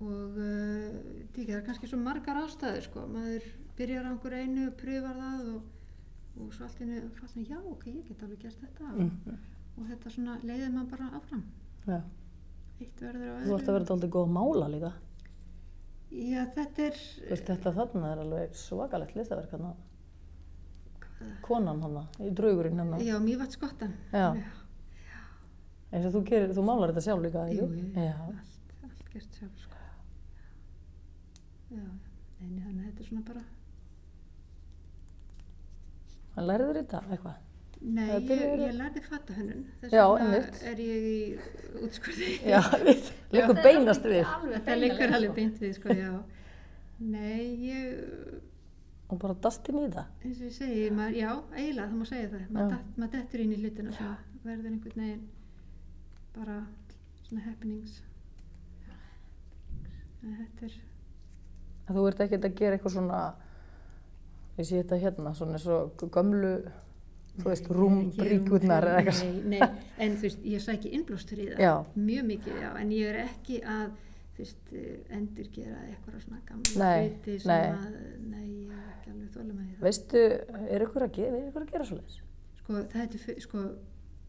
og uh, tíkja, það er kannski svo margar ástæður sko, maður byrjar á einhver einu pröfar það og, og svo allt í einu, allt í einu, já ok, ég get alveg gert þetta Mm. og, og þetta svona leiðir maður bara áfram Já. eitt verður á Þú ætti að vera alltaf góð að mála líka. Já, þetta er Þú hérna. veist, þetta þarna er alveg svakalegt listaverk hann Konan hann í draugurinn hann eh, Já, Mývatnsgottan. Já. Eins og þú gerir, þú málar þetta sjálf líka, ekki? Jú, jú, Já. allt, allt gert sjálf, sko. Já, já. Nei, nei, þannig að þetta er svona bara... Hann lærið þér þetta eitthvað? Nei, Það ég, byrjar- ég lærði fatahönnun. Þess Já, vegna einmitt. er ég í útskurði. Já, við, leikur beinast við. Þetta liggur alveg beint við, sko, já. Nei, ég, Og bara dastin í það. eins og ég segi, maður, já, eiginlega, það má segja það. Maður Já. datt- Maður dettur inn í hlutina sem verður einhvern veginn bara svona happenings. Nei, Þetta er... En Þú ert ekkert að gera eitthvað svona, ég sé þetta hérna, svona eins og gömlu, þú veist, Ekki rúmbríkurnar, rúmbríkurnar eða eitthvað. svona. Nei, nei, en þú veist, ég sæki innblástur í það, Já. mjög mikið, já, en ég er ekki að, þú veist, endurgera eitthvað svona gamla Nei, hluti sem nei. að, nei, ég er ekki alveg þóla með það. Veistu, er ykkur að gera, er ykkur að gera svoleiðis? Sko, það heitir, fu- sko,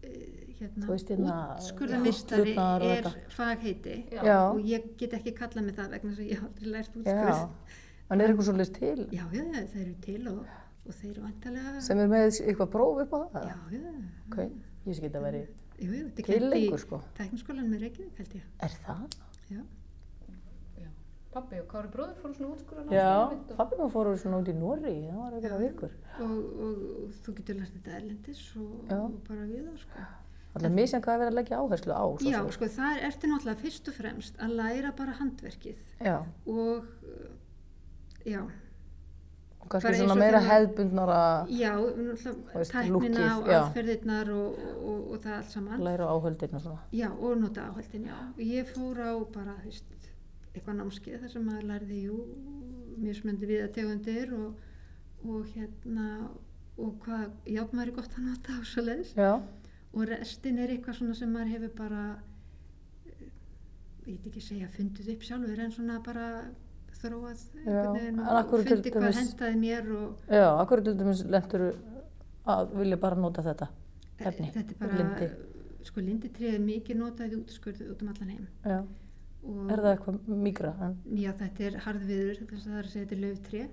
eh, hérna, Þú veist, hérna, útskurðarmistari hillurnar og er þetta. fagheiti Já. Já. og ég get ekki kallað mig það vegna þess að ég hef aldrei lært Já. útskurð. En er ykkur svoleiðis til? Já, já, já, þeir eru til og, og þeir eru vantarlega, Sem er með eitthvað próf upp á það? já, já, Ok, ég sé ekki að veri jú, jú, þetta er til kennt í lengur sko. tækniskólanum með Reykjavík, held ég, Er það? já. Pappi og Kári bróður fóru svona útskurðan Já, pabbi maður fór úr svona út í Nóri, það var eitthvað Já. vikur. og, og, og þú getur lært þetta erlendis og, Já. og bara við það sko. Alltaf misjan hvað er verið að leggja áherslu á. Svo Já, sem. sko, það er, ertu náttúrulega fyrst og fremst að læra bara handverkið Já, og uh, já, og Bara kannski eins svona og meira þegar- hefðbundnara já, Þú náttúrulega veist, tæknina lúkkið, og já. aðferðirnar og, og, og það allt saman. læra áhöldin og svona. Já, og nota áhaldin, já. Ég fór á bara, þú veist, eitthvað námskeið þar sem maður lærði, jú, mismöndi við að tegundir og, og hérna, og hvað jafn maður er gott að nota og svo leiðis. Já, og restin er eitthvað svona sem maður hefur bara eh, ég veit ekki að segja fundið upp sjálfur en svona bara þróað einhvern veginn en af og hverju til fundið hvað dæmis- hendaði mér og já, akkur til dæmis lendur að vilja bara nota þetta efni, Eh, þetta er bara lindi. sko linditrið er mikið notað í útskurð út um allan heim Já, og er það eitthvað migra? En, já, þetta er harðviður þess að það er að segja þetta er löftrið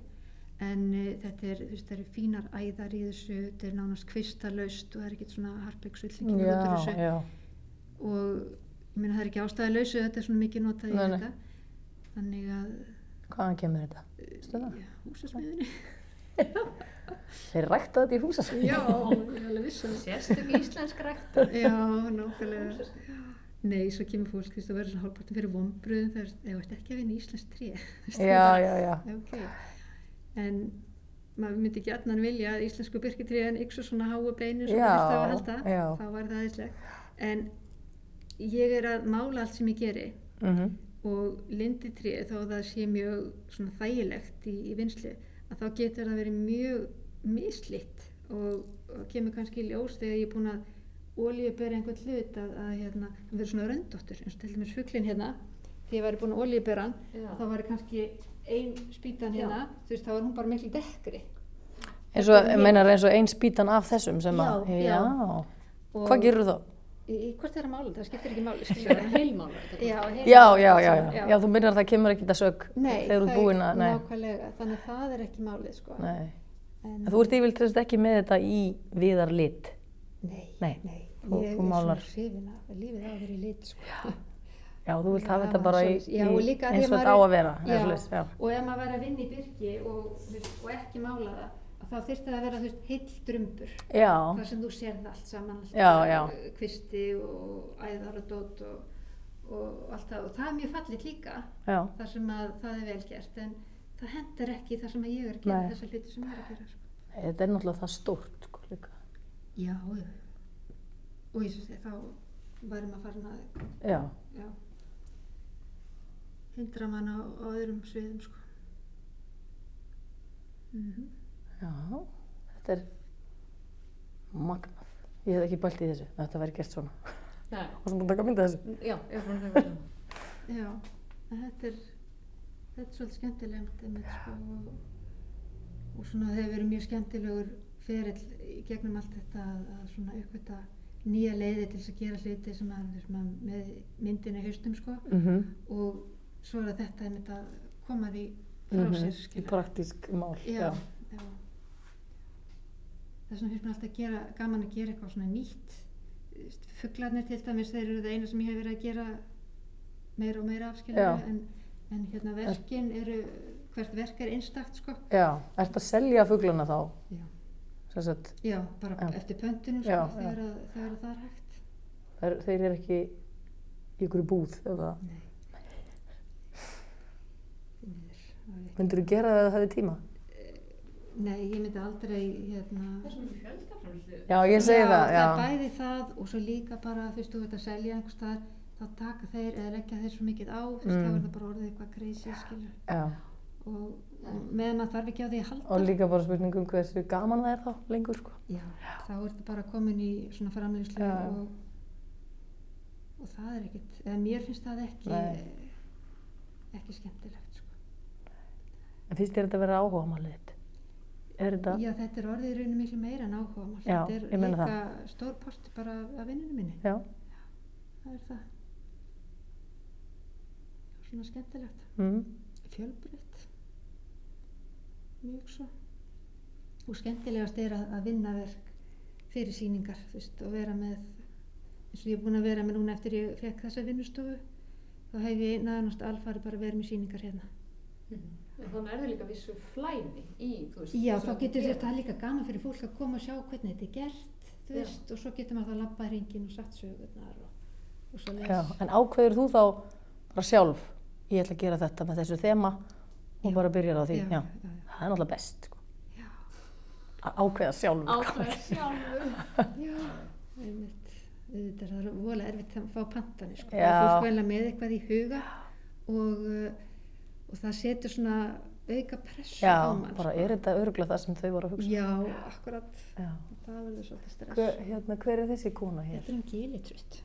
en uh, þetta er, þú veist, það eru fínar æðar í þessu, þetta er nánast kvistalaust og það er ekkert svona harpegsullingi út úr já, þessu já, og ég meina það er ekki ástæði lausu þetta er svona mikið notað í Nei, nei. þetta þannig að hvaðan kemur þetta? Eh, Stöða? já, húsasmiðinni Þeir rækta þetta í húsasvíð. já, ég er alveg vissan Sérstök íslensk rækt. já, nákvæmlega nei, svo kemur fólk þú veist að vera svona hálfpartin fyrir vombriðum þegar þú ert ekki að vinna í Íslands 3 Já, já, já. ok en maður myndi ekki annan vilja að íslensku birkitriðan ykkur svona háu beinu sem Já, það að halda já. þá var það aðeinsleg en ég er að mála allt sem ég geri Mm og linditré þó að það sé mjög svona þægilegt í, í vinslu að þá getur það verið mjög mislitt og, og kemur kannski í ljós þegar ég er búin að ólíu bera einhvern hlut að, að hérna, það verður svona röndóttur eins og til dæmis fugglinn hérna þegar ég væri búin að ólíu bera hann Já. þá væri kannski ein spýtan hérna þú veist þá er hún bara miklu dekkri Eins og, meinar eins og eins bítan af þessum sem að... Já, já. já. Hvað gerur þú þá? í, í hvort þeirra máli, það skiptir ekki máli Það er skilurðu. heilmála. já, heyrðu, já, já, já, já, Já. já, þú myndir að það kemur ekkert að sög nei, þegar þú það ert er búin að, nei, nákvæmlega, þannig að það er ekki málið sko. nei. En- En þú ert yfirleitt sem sagt ekki með þetta í viðar lit. Nei, Nei, nei. þú- ég þú er málar. svona hrifin af að lífið á að vera í lit sko. Já, þú vilt hafa hafa þetta bara í, svoleiðis. Já, í og líka af því eins og að þetta á maður- að vera. eða Já, svoleiðis, já. og ef maður væri að vinna í byrki og, þú veist, og ekki mála það að þá þyrfti það að vera þú veist, heill drumbur Já, þar sem þú sérð allt saman allt Já, bara, já. eh, kvisti og æðar og dót og, og allt það og það er mjög fallit líka já, þar sem að það er vel gert en það hendar ekki þar sem að ég er að gera Nei. þessa hluti sem ég er að gera sko. þetta er náttúrulega það stórt sko líka. já, já og ég svo segi þá væri maður farin að Já, já, hindra mann á, á öðrum sviðum sko. mm já, þetta er magnað. Ég hef ekki bælt í þessu, að þetta væri gert svona. Nei, Og svo búin að taka mynda þessu. já, ég er búin að taka það. Já, en þetta er, þetta er svolítið skemmtilegt einmitt, sko, og, og svona það hefur verið mjög skemmtilegur ferill í gegnum allt þetta að, að svona uppgöta nýja leiði til þess að gera hluti sem að, sem að með myndinu haustum sko Mm -hmm. og svo er það þetta einmitt að koma því frá Mhm. mm -hmm. sér Í skilur. praktísk mál. Já, já. Þess vegna finnst mér alltaf gera, gaman að gera eitthvað svona nýtt. Fuglarnir til dæmis, þeir eru það eina sem ég hef verið að gera meira og meira afskilja. Já. En, en hérna verkin eru, hvert verk er einstakt sko. já. Ertu að selja fuglana þá? Já. Sem sagt, Já, bara Já. eftir pöntunum sko, Já, já. þegar, að, þegar að það er hægt. er, þeir eru ekki í ykkur búð eða? Nei. Því miður, það veit- Myndur þú gera það ef það hefði tíma? Nei, ég myndi aldrei hérna, Já, ég segi það, já. er bæði það og svo líka bara þú veist þú veit að selja einhver staðar þá taka þeir eða leggja þeir svo mikið á þú veist Mm. þá er það bara orðið eitthvað crazy skilur já. og, og meðan maður þarf ekki á því að halda Og líka bara spurningum hversu gaman það er þá lengur, sko. já, þá er það bara komin í svona framleyslu Já. og, og það er ekkit eða mér finnst það ekki Nei. ekki skemmtilegt sko. En finnst þér þetta að vera áhuga málið þitt? Er þetta? já þetta er orðið í rauninu miklu meira en áhuga Já, þetta er ég meina líka stór part bara af vinninu minni Já. það er það svona skemmtilegt Mm. fjölbreytt mjög svo og skemmtilegast er að, að vinna verk fyrir sýningar þú veist, og vera með eins og ég er búin að vera með núna eftir ég fekk þessa vinnustofu þá hef ég náðanast alfari bara verið með sýningar hérna En þannig er það líka vissu flæði í, þú veist. já þessu þá að getur gera. þetta það er líka gaman fyrir fólk að koma og sjá hvernig þetta er gert þú Já. veist, og svo getur maður það að labba hringin og satt sögurnar og, og svo Já. En ákveður þú þá bara sjálf, ég ætla að gera þetta með þessu þema og bara byrjar á því. Já. já, já, já. Það er náttúrulega best, sko. Já. Að ákveða sjálf. Ákveða sjálfur. Já, einmitt. Auðvitað er það vola erfitt að fá pantanir sko. Já. Það er fólk vel með eitthvað í huga og, uh, og það setur svona auka pressu Já, á mann. sko. bara er þetta örgulega það sem þau voru að hugsa. Já, akkurat. Já. Það verður svolítið stress. Hver, hérna, hver er þessi kona hér? Þetta er um gilitrutt.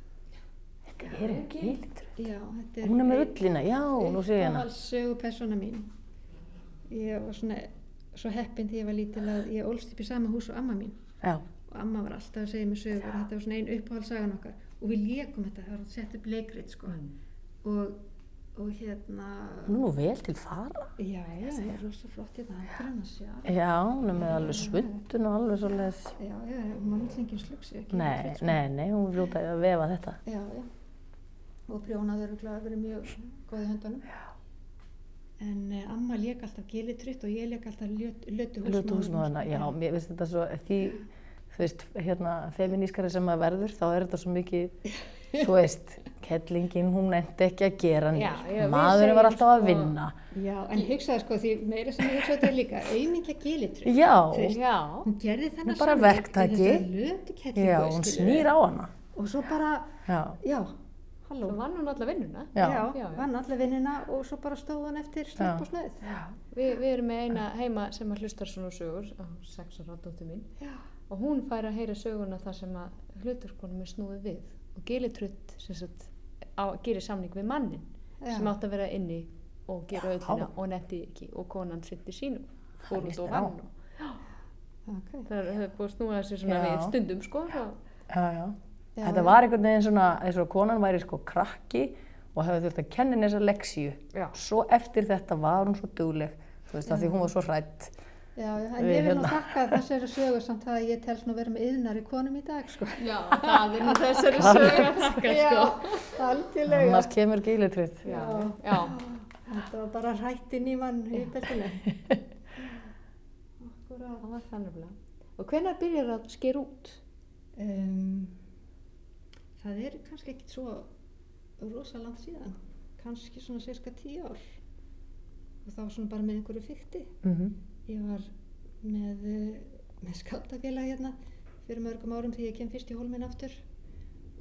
Þetta er um gildru. Já, þetta er... Hún er með ullina, já, nú sé ég hana. Alls sögu persóna mín. Ég var svona svo heppin því ég var lítil að ég ólst upp í sama hús og amma mín. Já, og amma var alltaf að segja mér sögur þetta var svona ein uppáhaldsagan okkar og við lékum þetta, það var sett upp leikrit sko. og, og hérna hún er nú vel til fara. já, já, það er rosa flott í það hann að sjá Já, hún er með alveg svundun og alveg svolítið. já, já, mannlingin slugsi ekki sko. Nei, nei, nei, hún er fljóta að vefa þetta. já, já og prjónaður og glæður verið mjög góði höndunum já. en eh, amma lék alltaf gilitrytt og ég lék alltaf lötu húsmaður Ljóta húsmaðurna, já, mér finnst þetta svo, því, þú veist, hérna, feminískari sem maður verður, þá er þetta svo mikið, þú veist, kettlingin, hún endi ekki að gera Já, neitt, já, við maðurinn var segjum alltaf að sko- vinna. já, en hugsaði sko því meira sem ég hugsaði þetta líka auðvitað gilitrytt Já, Já. hún gerði þennan bara samning verktaki. í þessari lötu kellingu, já, hún skilurðu. snýr á hana, og svo bara, já, já, Halló. Svo vann hún alla vinnuna. já, já. vann alla vinnina og svo bara stóð hann eftir Já. slepp og snöð Vi, við erum með eina heima sem að hlustar svona sögur, á sex ára dóttu mín. Já. Og hún fær að heyra söguna þar sem að hluturkonum er snúið við. Og gilitrutt sem sagt á, gerir samning við mannin Já. sem átt að vera inni og gera öllina þá. og netti ekki og konan sindi sínum. Fór út líst og mér á. vann. og- okay. Það er það er búið að snúa þessi svona Já. við stundum sko. Já. já, já. Þetta var einhvern veginn svona, eins og konan væri sko krakki og hefði þurft að kenna henni þessa leksíu. Já. Svo eftir þetta var hún svo dugleg, þú veist, af því hún var svo hrætt Já, já, en Við ég vil nú hérna- þakka þessari sögu samt það að ég telst nú verið með yðnar í konum í dag, sko. Já, það er nú þessari sögur að þakka, sko. algjörlega. annars kemur gílutrið. Já. Já, Þetta var bara rættin í mann í beltinu. Akkurát. það var þannig að. Og hvenær byrjar að sker út? Um, það er kannski ekkit svo rosa langt síðan, kannski svona cirka tíu ár og þá svona bara með einhverju fykti. Mm Mhm. Ég var með, eh, með skátafélag hérna fyrir mörgum árum þegar ég kem fyrst í hólminn aftur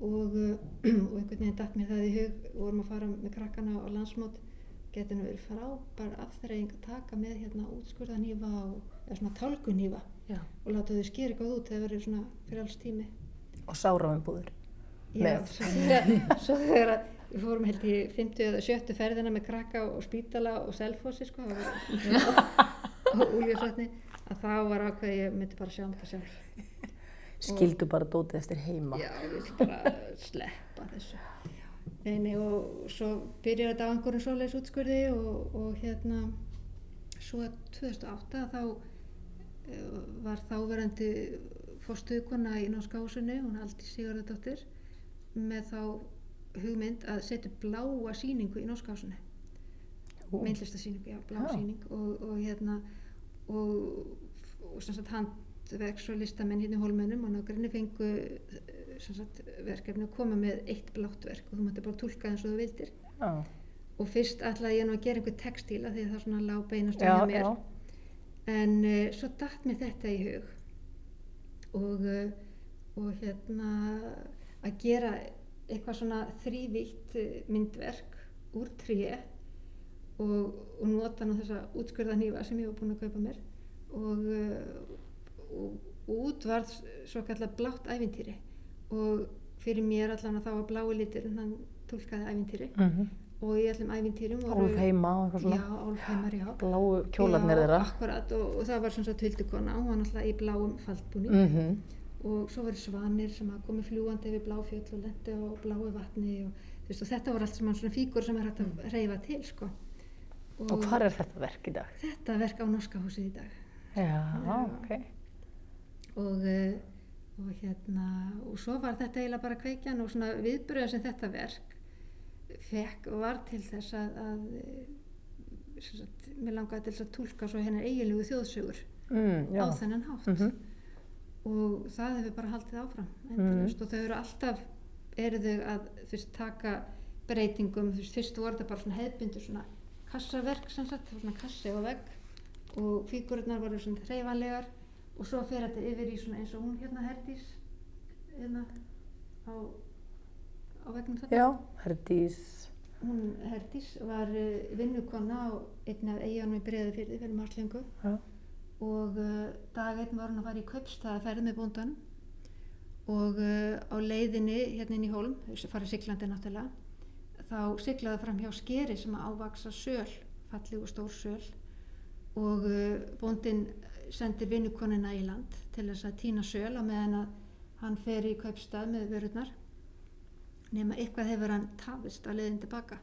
og, eh, og einhvern veginn datt mér það í hug og vorum að fara með krakkana á landsmót geti nú verið frábær afþreying að taka með hérna útskurðanýfa og eða svona tálgunýfa Já. og láta þau skýra eitthvað út þegar verið svona fyrir alls tími Og sáraum búður. Já, með. svo þegar- svo þegar að við fórum held í 50 eða 70 ferðina með krakka og spítala og selfossi sko það var- og úljöfsatni að þá var ákveð ég myndi bara sjá um það sjálf Skildu bara dótið eftir heima. já, ég vil bara sleppa þessu nei, nei, og svo byrjar þetta á einhverjum svoleiðis útskurði og, og hérna svo 2008 þá eh, var þáverandi fórstuðkona í Norskásinu hún Aldi Sigurðardóttir með þá hugmynd að setja upp bláa sýningu í Norskásinu Ú. myndlistasýningu, já, blá Já. sýning og, og hérna og, og sem sagt handverks og listamenn hérna í holmennum og nágrinni fengu eh, sem sagt verkefni að koma með eitt blátt verk og þú mætti bara túlka það eins og þú vildir Já. og fyrst ætlaði ég nú að gera einhver textíla því að það svona lá beinast Já, hjá mér já. en uh, svo datt mér þetta í hug og, uh, og hérna að gera eitthvað svona þrývítt myndverk úr tríi og, og nota nú þessa útskurðanýfa sem ég var búin að kaupa mér og, uh, og, og út varð svo kallar blátt ævintýri og fyrir mér allan að þá var blái litur en hann tólkaði ævintýri Mm og í allum ævintýrum voru- Álf heima og eitthvað svona. já, álfheimar, já Bláu kjólarnir Já, þeirra. akkurat, og, og það var sem sagt huldukona hún var náttúrulega í bláum faldbúning Mm og svo voru svanir sem að komi fljúandi yfir blá fjöll og lendi á bláu vatni og, þú veist, og þetta voru allt sem hann svona fígur sem er hægt að reyfa til sko. Og hvar er þetta verk í dag? þetta verk á norska húsið í dag Já, ok. og, eh, og hérna og svo var þetta eiginlega bara kveikjan og svona viðbröða sem þetta verk fekk var til þess að, að eh, sem sagt, mér langaði til þess að túlka svo hennar eiginlegu þjóðsögur Mm, já. á þennan hátt Mhm. og það hefur bara haldið áfram endalaust og þau eru alltaf eru þau að þú veist, taka breytingum, þú veist, fyrst voru þetta bara svona hefbundu svona kassaverk sem sagt, það var svona kassi og vegg og fígurnar voru svona hreyfanlegar og svo fer þetta yfir í svona eins og hún hérna Herdís hérna á, á vegnum þetta Já, Herdís. hún Herdís var uh, vinnukonna á einn af eigunum í breiði fyrir fyrir marglengu Já. og uh, dag einn var hún að fara í kaupstaðaferð með bóndanum og uh, á leiðinni hérna inn í Hólm, þess að fara siglandi náttúrulega þá siglaði fram hjá skeri sem að ávaksa söl, falleg og stór söl og uh, bóndin sendir vinnukonina í land til þess að týna söl á meðan að hann fer í kaupstað með vörurnar nema eitthvað hefur hann tafist að leiðin tilbaka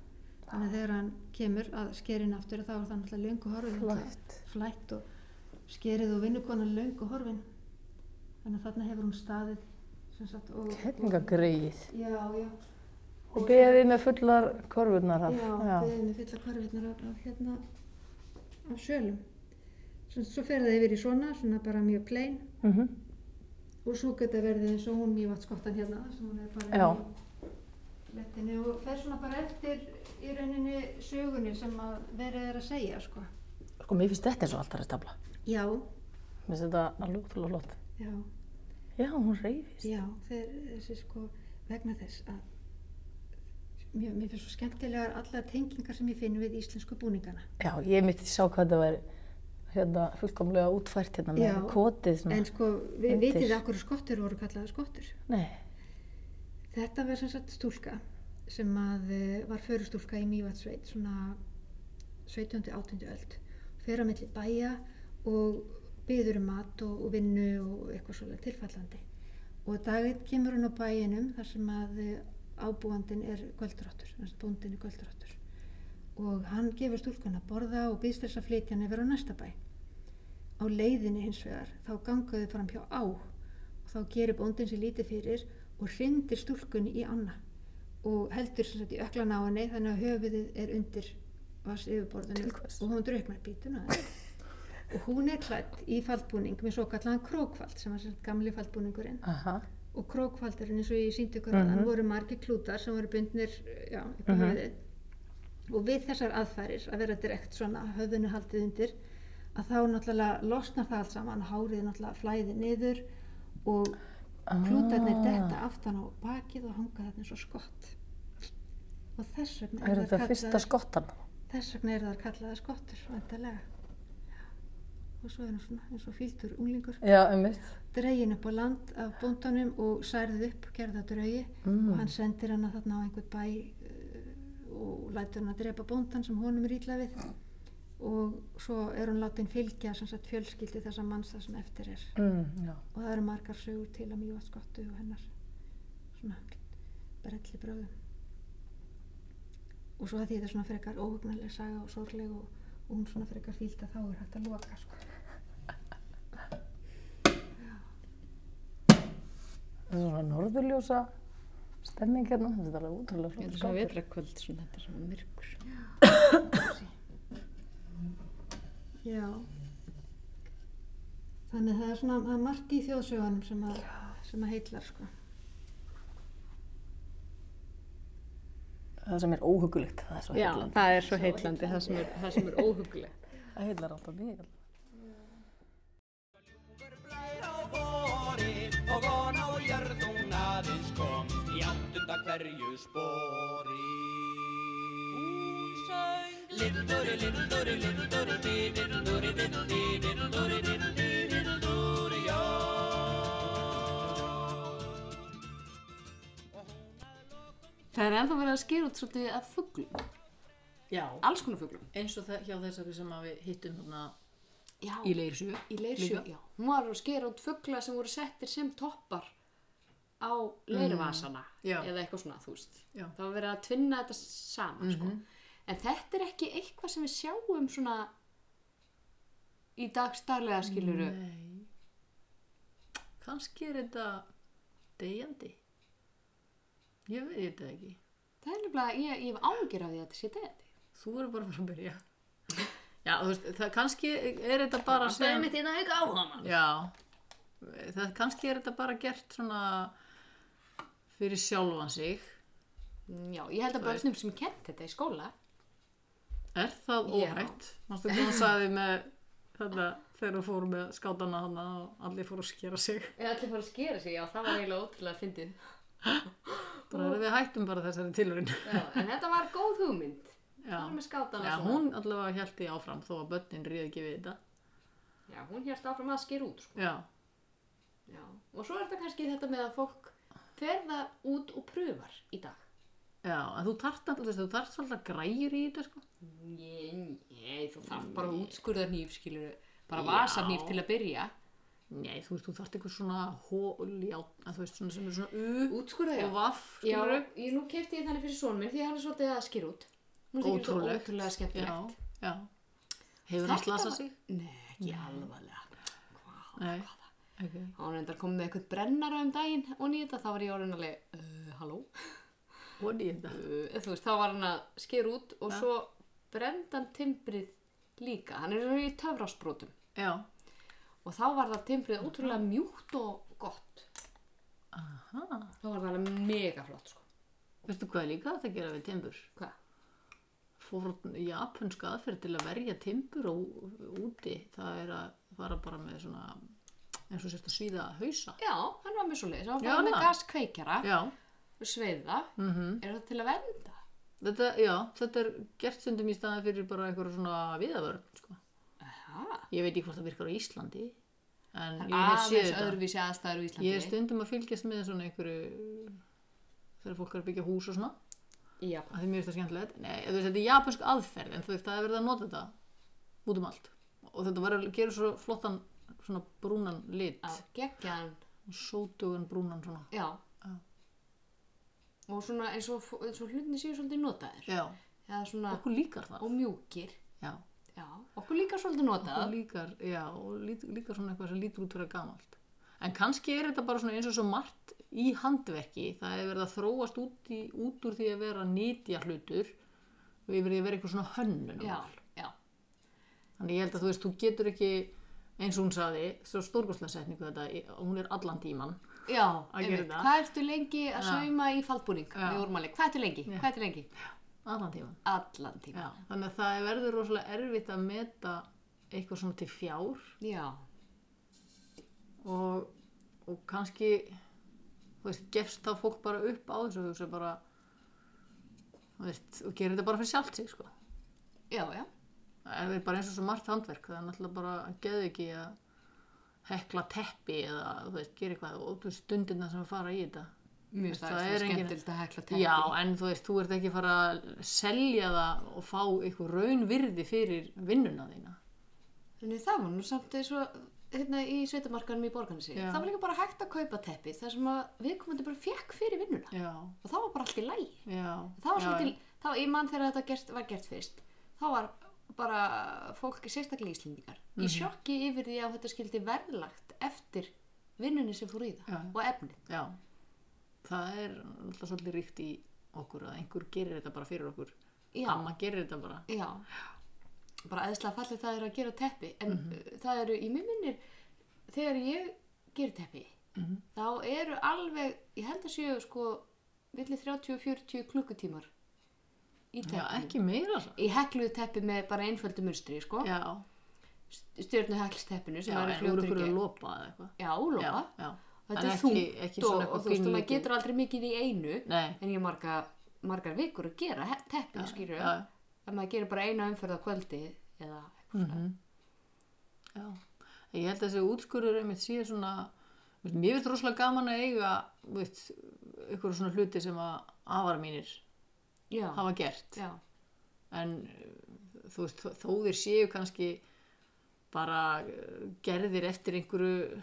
þannig að þegar hann kemur að skerin aftur þá er það náttúrulega löngu horfin Flætt. flætt og skerið og vinnukonan löngu horfin þannig að þarna hefur hún staðið sem sagt og, Kerningagreyið. og, já, já, Og beðið með fullar korfurnar Ah, af. já, beðið með fulla korfirnar af, af hérna af sjölum svo, svo fer það yfir í svona, svona bara mjög plain Mm og svo geta verið eins og hún mývatnskottan hérna sem hún er bara Já. í lettinu og fer svona bara eftir í rauninni sögunni sem að verið er að segja sko. Sko, mér finnst þetta eins og alltaf restafla. já, Mér finnst þetta alveg útrúlega flott. já, Já, hún reyfist. já þeir, þessi sko vegna þess að mér, mér finnst svo skemmtilegar allar tengingar sem ég finn við íslensku búningana Já, ég mitt sá hvað þetta væri hérna, fullkomlega útfært hérna með Já. kotið svona. en sko, við Undir. vitið að hverju skottur voru kallaða skottur Nei, Þetta var sem sagt stúlka sem að eh, var förustúlka í Mývatsveit svona 17. 18. öld fyrir á milli bæja og byður um mat og, og vinnu og eitthvað svolítið tilfallandi og daginn kemur hún á bæinum þar sem að eh, ábúandinn er göldrottur, þess að bóndinn er göldrottur og hann gefur stúlkan að borða og býðst þess að flytja hann yfir á næsta bæ á leiðinni hins vegar þá gangaðu fram hjá á og þá gerir bóndin sér lítið fyrir og hrindir stúlkunni í anna og heldur sem sagt í öklan á henni þannig að höfuðið er undir vass yfirborðinu og hún drauknar bítuna og hún er klætt í faldbúning með svo kallan krókfald sem er sem sagt gamli faldbúningurinn Aha. og krókfaldurinn eins og ég síndi ykkur mm Mhm. -hmm. voru margir klútar sem voru bundnir já, upp á mm og við þessar aðfærir að vera direkt svona höfðinu haldið undir að þá náttúrulega losnar það allt saman hárið náttúrulega flæði niður og klútarnir Ah. detta aftan á bakið og hanga þarna svo skott og þess vegna Er þær þetta fyrsta kallaðar- skottan? Þess vegna eru þar kallaða skottur, vantarlega. Og svo er hann svona eins og fýldur unglingur, Já, einmitt. dregin upp á land af bóndanum og særðið upp, gerða draugi Mm. og hann sendir hann þarna á einhvern bæ eh, og lætur hann að drepa bóndan sem honum er ítla við og svo er hann látin fylgja sem sagt fjölskyldi þessa manns það sem eftir er Mm, já. og það eru margar sögur til að mjög skottu og hennar svona brelli bröðum og svo að því þetta er svona frekar óhugnarleg saga og sorgleg og, og hún svona frekar fílt að þá er hægt að loka sko. Það er svona norðurljósa stemning hérna. Þetta er alveg útrúlega Þetta er flott. svona vetrakvöld, svona, þetta er svona myrkur. já þannig að það er svona það er margt í þjóðsögunum sem að, sem að heitlar sko. Það sem er óhugulegt. Það er svo Já, heillandi. það er svo heitlandi, það sem er, það sem er óhuglegt. Það heillar alltaf mjög. Blær á vori og von á jörð hún aðeins kom í áttunda hverju spori. Hún söng Lindori, lindori, lindori, di, lindori, lindori, lindori, lindori, lindori, já. Það er ennþá verið að skera út svolítið af fuglum, Já, alls konar fuglum. Eins og það hjá þessari sem við hittum hérna Já, í leirsjö. í leirsjö, já. Hún var að skera út fugla sem voru settir sem toppar á Mm. leirvasana Já. eða eitthvað svona, þú veist. Já. Það var verið að tvinna þetta saman, Mhm. sko. En þetta er ekki eitthvað sem við sjáum svona í dagstaglega skiluru. Mm. Nei. Kannski er þetta degjandi. Ég veit þetta ekki. Það er nefnilega, ég, ég hef ágjör af því að þetta sé deðandi. Þú eru bara að fara að byrja. Já, þú veist, það kannski er þetta bara sem... þetta auka á hana. Já, það kannski er þetta bara gert svona fyrir sjálfan sig. Já, ég held að börnum sem kent þetta í skóla. Er það Já. óhætt? Mástu hvað hún sagði með þetta þegar hún fór með skátana hana og allir fóru að skera sig. Ég ætli fara að skera sig, já, það var eiginlega ótrúlega fyndið. Bara við hættum bara þessari tilurinn. Já, en þetta var góð hugmynd. Já. Það var með skátana Já, hún allavega held því áfram þó að börnin ríði ekki við þetta. Já, hún hérst áfram að skera út, sko. Já, Já. Og svo er þetta kannski þetta með að fólk ferða út og pröfar í dag. já, en þú tart alltaf, þú þarft svolítið græjur í þetta sko. Nei, nei, þú þarf bara útskurðar nýf, skilur, bara vasanýf til að byrja. Nei, þú veist, þú þarft eitthvað svona hól, já, að þú veist, svona sem er svona u Útskurðar, já. og vaff, Já, skilur ég, nú kefti ég þannig fyrir sonum minn því hann er svolítið að skera út. Nú þykir þetta Ótrúlegt. Ótrúlega skemmtilegt. Já, já. Hefur hann Þetta slasað var- sig? Nei, ekki alvarlega. Hvað? Nei. Okay. Hann reyndar kom með eitthvað brennara um daginn og nýta, þá var ég orðin alveg, uh, halló? What is that? uh, þú veist, þá var hann að sker út og svo brendan timbrið líka, hann er svona í töfrasbrotum Já. og þá var það timbrið ótrúlega mjúkt og gott Aha. þá var það alveg mega flott sko. Veistu hvað er líka að það gera við timbur? hvað? Fór japanska aðferð til að verja timbur á, úti. Það er að fara bara með svona, eins og sérst að svíða hausa. já, hann var með svo leiðis, hann Já, var bara með það. gaskveikjara Já. sveiða, Mm er það til að venda Þetta, já, þetta er gert sundum í staðan fyrir bara einhverja svona viðavörn, sko. Aha. Ég veit ekki hvort það virkar á Íslandi, en ég hef séð aðeins þetta. öðruvísi aðstæður í Íslandi Ég er stundum að fylgjast með svona einhverju, þegar fólk er að byggja hús og svona. í Japan að því mér finnst það skemmtilegt nei, þú veist, þetta er japansk aðferð en þú veist, það er verið að nota þetta út um allt og þetta var að gera svo flottan svona brúnan lit að gegja hann, sótugan brúnan svona já Ah. og svona eins og, eins og hlutinni séu svolítið notaðir já, eða svona, okkur líkar það og mjúkir já, Já, já, Okkur líka svolítið notað. og líka, já, og lít, líka svona eitthvað sem lítur út fyrir gamalt. En kannski er þetta bara svona eins og svo margt í handverki, það hefur verið að þróast út, í, út úr því að vera að nýtja hlutur og yfir því að vera eitthvað svona hönnun. Já, já. Þannig ég held að þú veist, þú getur ekki, eins og hún saði, svo stórgóðslega setningu þetta, ég- hún er allan tíman. Já, Að gera einmitt. það. Hvað ertu lengi að Já. sauma í faldbúning? Já. Við vorum alveg, hvað ertu lengi? Hvað ertu lengi? Allan tíman. Allan tíma. Já, þannig að það verður rosalega erfitt að meta eitthvað svona til fjár Já. og, og kannski þú veist, gefst þá fólk bara upp á þessu og hugsa bara þú veist, og gerir þetta bara fyrir sjálft sig sko. Já, já. það er bara eins og svo margt handverk það er náttúrulega bara að geðu ekki að hekla teppi eða þú veist, gera eitthvað og þú veist, stundirna sem að fara í þetta Mér veist, finnst það það er er engin- skemmtilegt að hekla teppi. Já, en þú veist, þú ert ekki að fara að selja það og fá eitthvað raunvirði fyrir vinnuna þína Þannig það var nú samt eins og hérna í sveitamarkanum í borganessi. Já. Það var líka bara hægt að kaupa teppi þar sem að viðkomandi bara fekk fyrir vinnuna. Já, Og það var bara allt í lægi. já Það var já, svolítil, það var í mann þegar þetta gerst, var gert fyrst. Þá var bara fólk, sérstaklega íslendingar, Mhm. í sjokki yfir því að þetta skildi verðlagt eftir vinnunni sem fór í það Já. og efnið. Já, það er alltaf svolítið ríkt í okkur að einhver gerir þetta bara fyrir okkur. Já. Amma gerir þetta bara. Já, bara eðslega fallið það er að gera teppi, en mm Mhm. það eru í mér minnir, þegar ég ger teppi, Mhm. þá eru alveg, ég held að séu sko, villið 30-40 klukkutímar í Já, teppinu. ekki meira svo. Ég hekluðu teppi með bara einföldu munstri, sko. Já, stjörnu heglsteppinu sem já er en úr fljótur okkur í að gegn lopa eða eitthvað. já, lópa, Já, já. þetta En er ekki- þungt ekki og, svona og eitthvað þú veist, og maður pínlítið. getur aldrei mikið í einu Nei. en ég marga, margar vikur að gera he- teppið, skýrur já. að maður gerir bara eina umferð á kvöldi eða eitthvað svona Mhm. Já, ég held að þessi útskurður einmitt sé svona, þú veist, mér finnst rosalega gaman að eiga, þú veist, ykkur svona hluti sem að afar mínir já, hafa gert. já, en uh, þú veist, þó- þó þeir séu kannski bara uh, gerðir eftir einhverju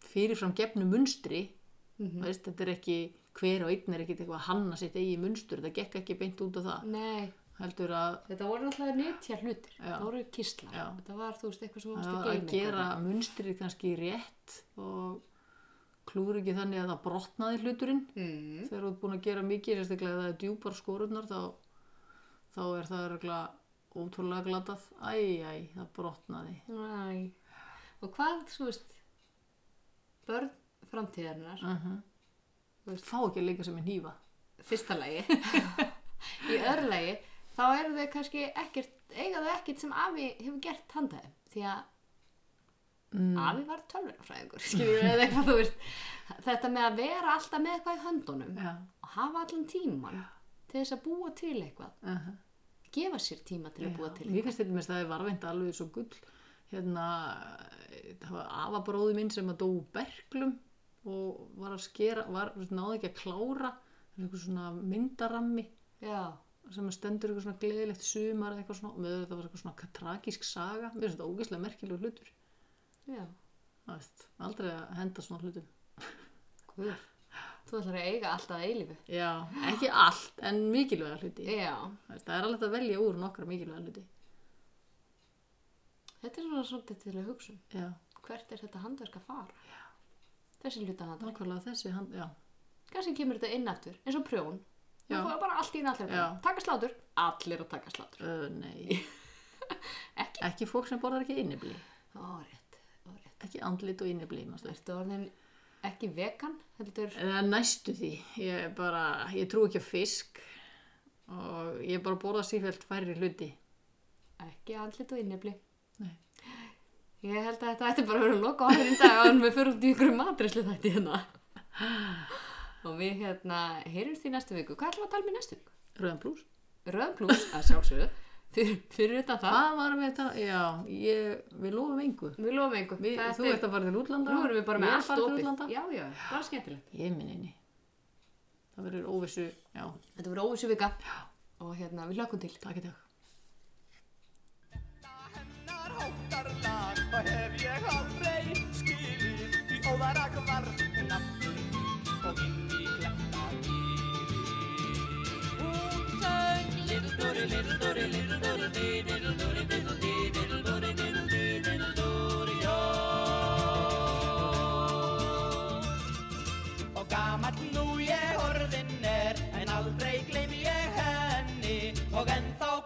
fyrirfram gefnu munstri veist, þetta er ekki hver og einn er ekkert eitthvað að hanna sitt eigi munstur þetta gekk ekki beint út á það nei heldur að, þetta voru náttúrulega netja hlutir Já. þetta voru kíslar, Já. þetta var þú veist eitthvað sem varst að, að að geyma gera munstrið kannski rétt og klúður ekki þannig að það brotnaði hluturinn mm. þegar þú ert búin að gera mikið sérstaklega ef það er djúpar skorurnar þá, þá er það örgla ótrúlega glatað æ, æ, það brotnaði Æ. og hvað, þú veist börn framtíðarinnar fá ekki að leika sem er nýfa fyrsta lagi í öðru lagi þá eru þau kannski ekkert eiga þau ekkert sem afi hefur gert handaði því að afi var tölverafræðingur skilur eða eitthvað þú veist þetta með að vera alltaf með eitthvað í höndunum já, og hafa allan tíman til þess að búa til eitthvað uh gefa sér tíma til að búa til mér finnst þetta með það er varvind alveg svo gull hérna það var afabróði minn sem að dó úr berglum og var að skera var, náði ekki að klára það er einhver svona myndarammi já, sem að stendur eitthvað svona gleðilegt sumar eða eitthvað svona, og með þetta var eitthvað svona tragísk saga, mér finnst þetta ógeðslega merkilega hlutur já Það veist, aldrei að henda svona hlutum Guð. þú ætlar að eiga alltaf eilífu já, ekki allt, en mikilvæga hluti já, Það veist, það er alveg að velja úr nokkra mikilvæga hluti þetta er svona svolítið til að hugsa um. já, hvert er þetta handverk að fara já. þessi hluta handverk nákvæmlega þessi hand, já kannski kemur þetta inn aftur, eins og prjón þú Já. fóðu bara allt í einu allir að Já. prjóna. taka slátur, allir að taka slátur Uh, nei. ekki? fólk sem borðar ekki innibli. ó, rétt, ó, rétt Ekki andlit og innibli, mástu. ertu orðin ekki vegan heldur, Það er næstu því. Ég er bara, ég trú ekki á fisk og ég er bara að borða sífjöld færri hluti. ekki andlit og innefli Nei. ég held að þetta ætti bara að vera loka orðin í dag án við fyrir út í ykkur matrislu þetta hérna og við hérna heyrjumst í næstu viku, hvað ætlum við að tala um í næstu viku? Röðan blús. röðum pluss, að sjálfsögðu fyrir, fyrir utan það, Hvað varum við þetta? Já, ég, við lofum engu. við lofum einhver Við, Það þú er- ert að fara til útlanda. nú erum við bara ég með er að allt fara til opið útlanda. já, já, bara skemmtilegt Ég minn einni. Það verður óvissu, já, Þetta verður óvissu vika og hérna við hlökkum til. takk í takk. hennar hóttarlag og hef ég aldrei skilið því óðarak var nafnum og inn í kletta Hún söng Little Dory, Little Dory, Little Dory, Dee, Little Dory, Little Dee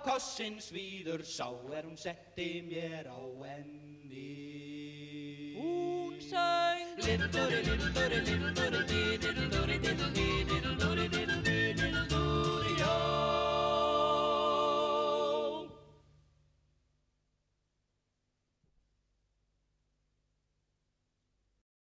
kossinn svíður sá er hún setti mér á enni. Hún söng Linduri, linduri, linduri, dýrir, dúri, dýrir, dýrir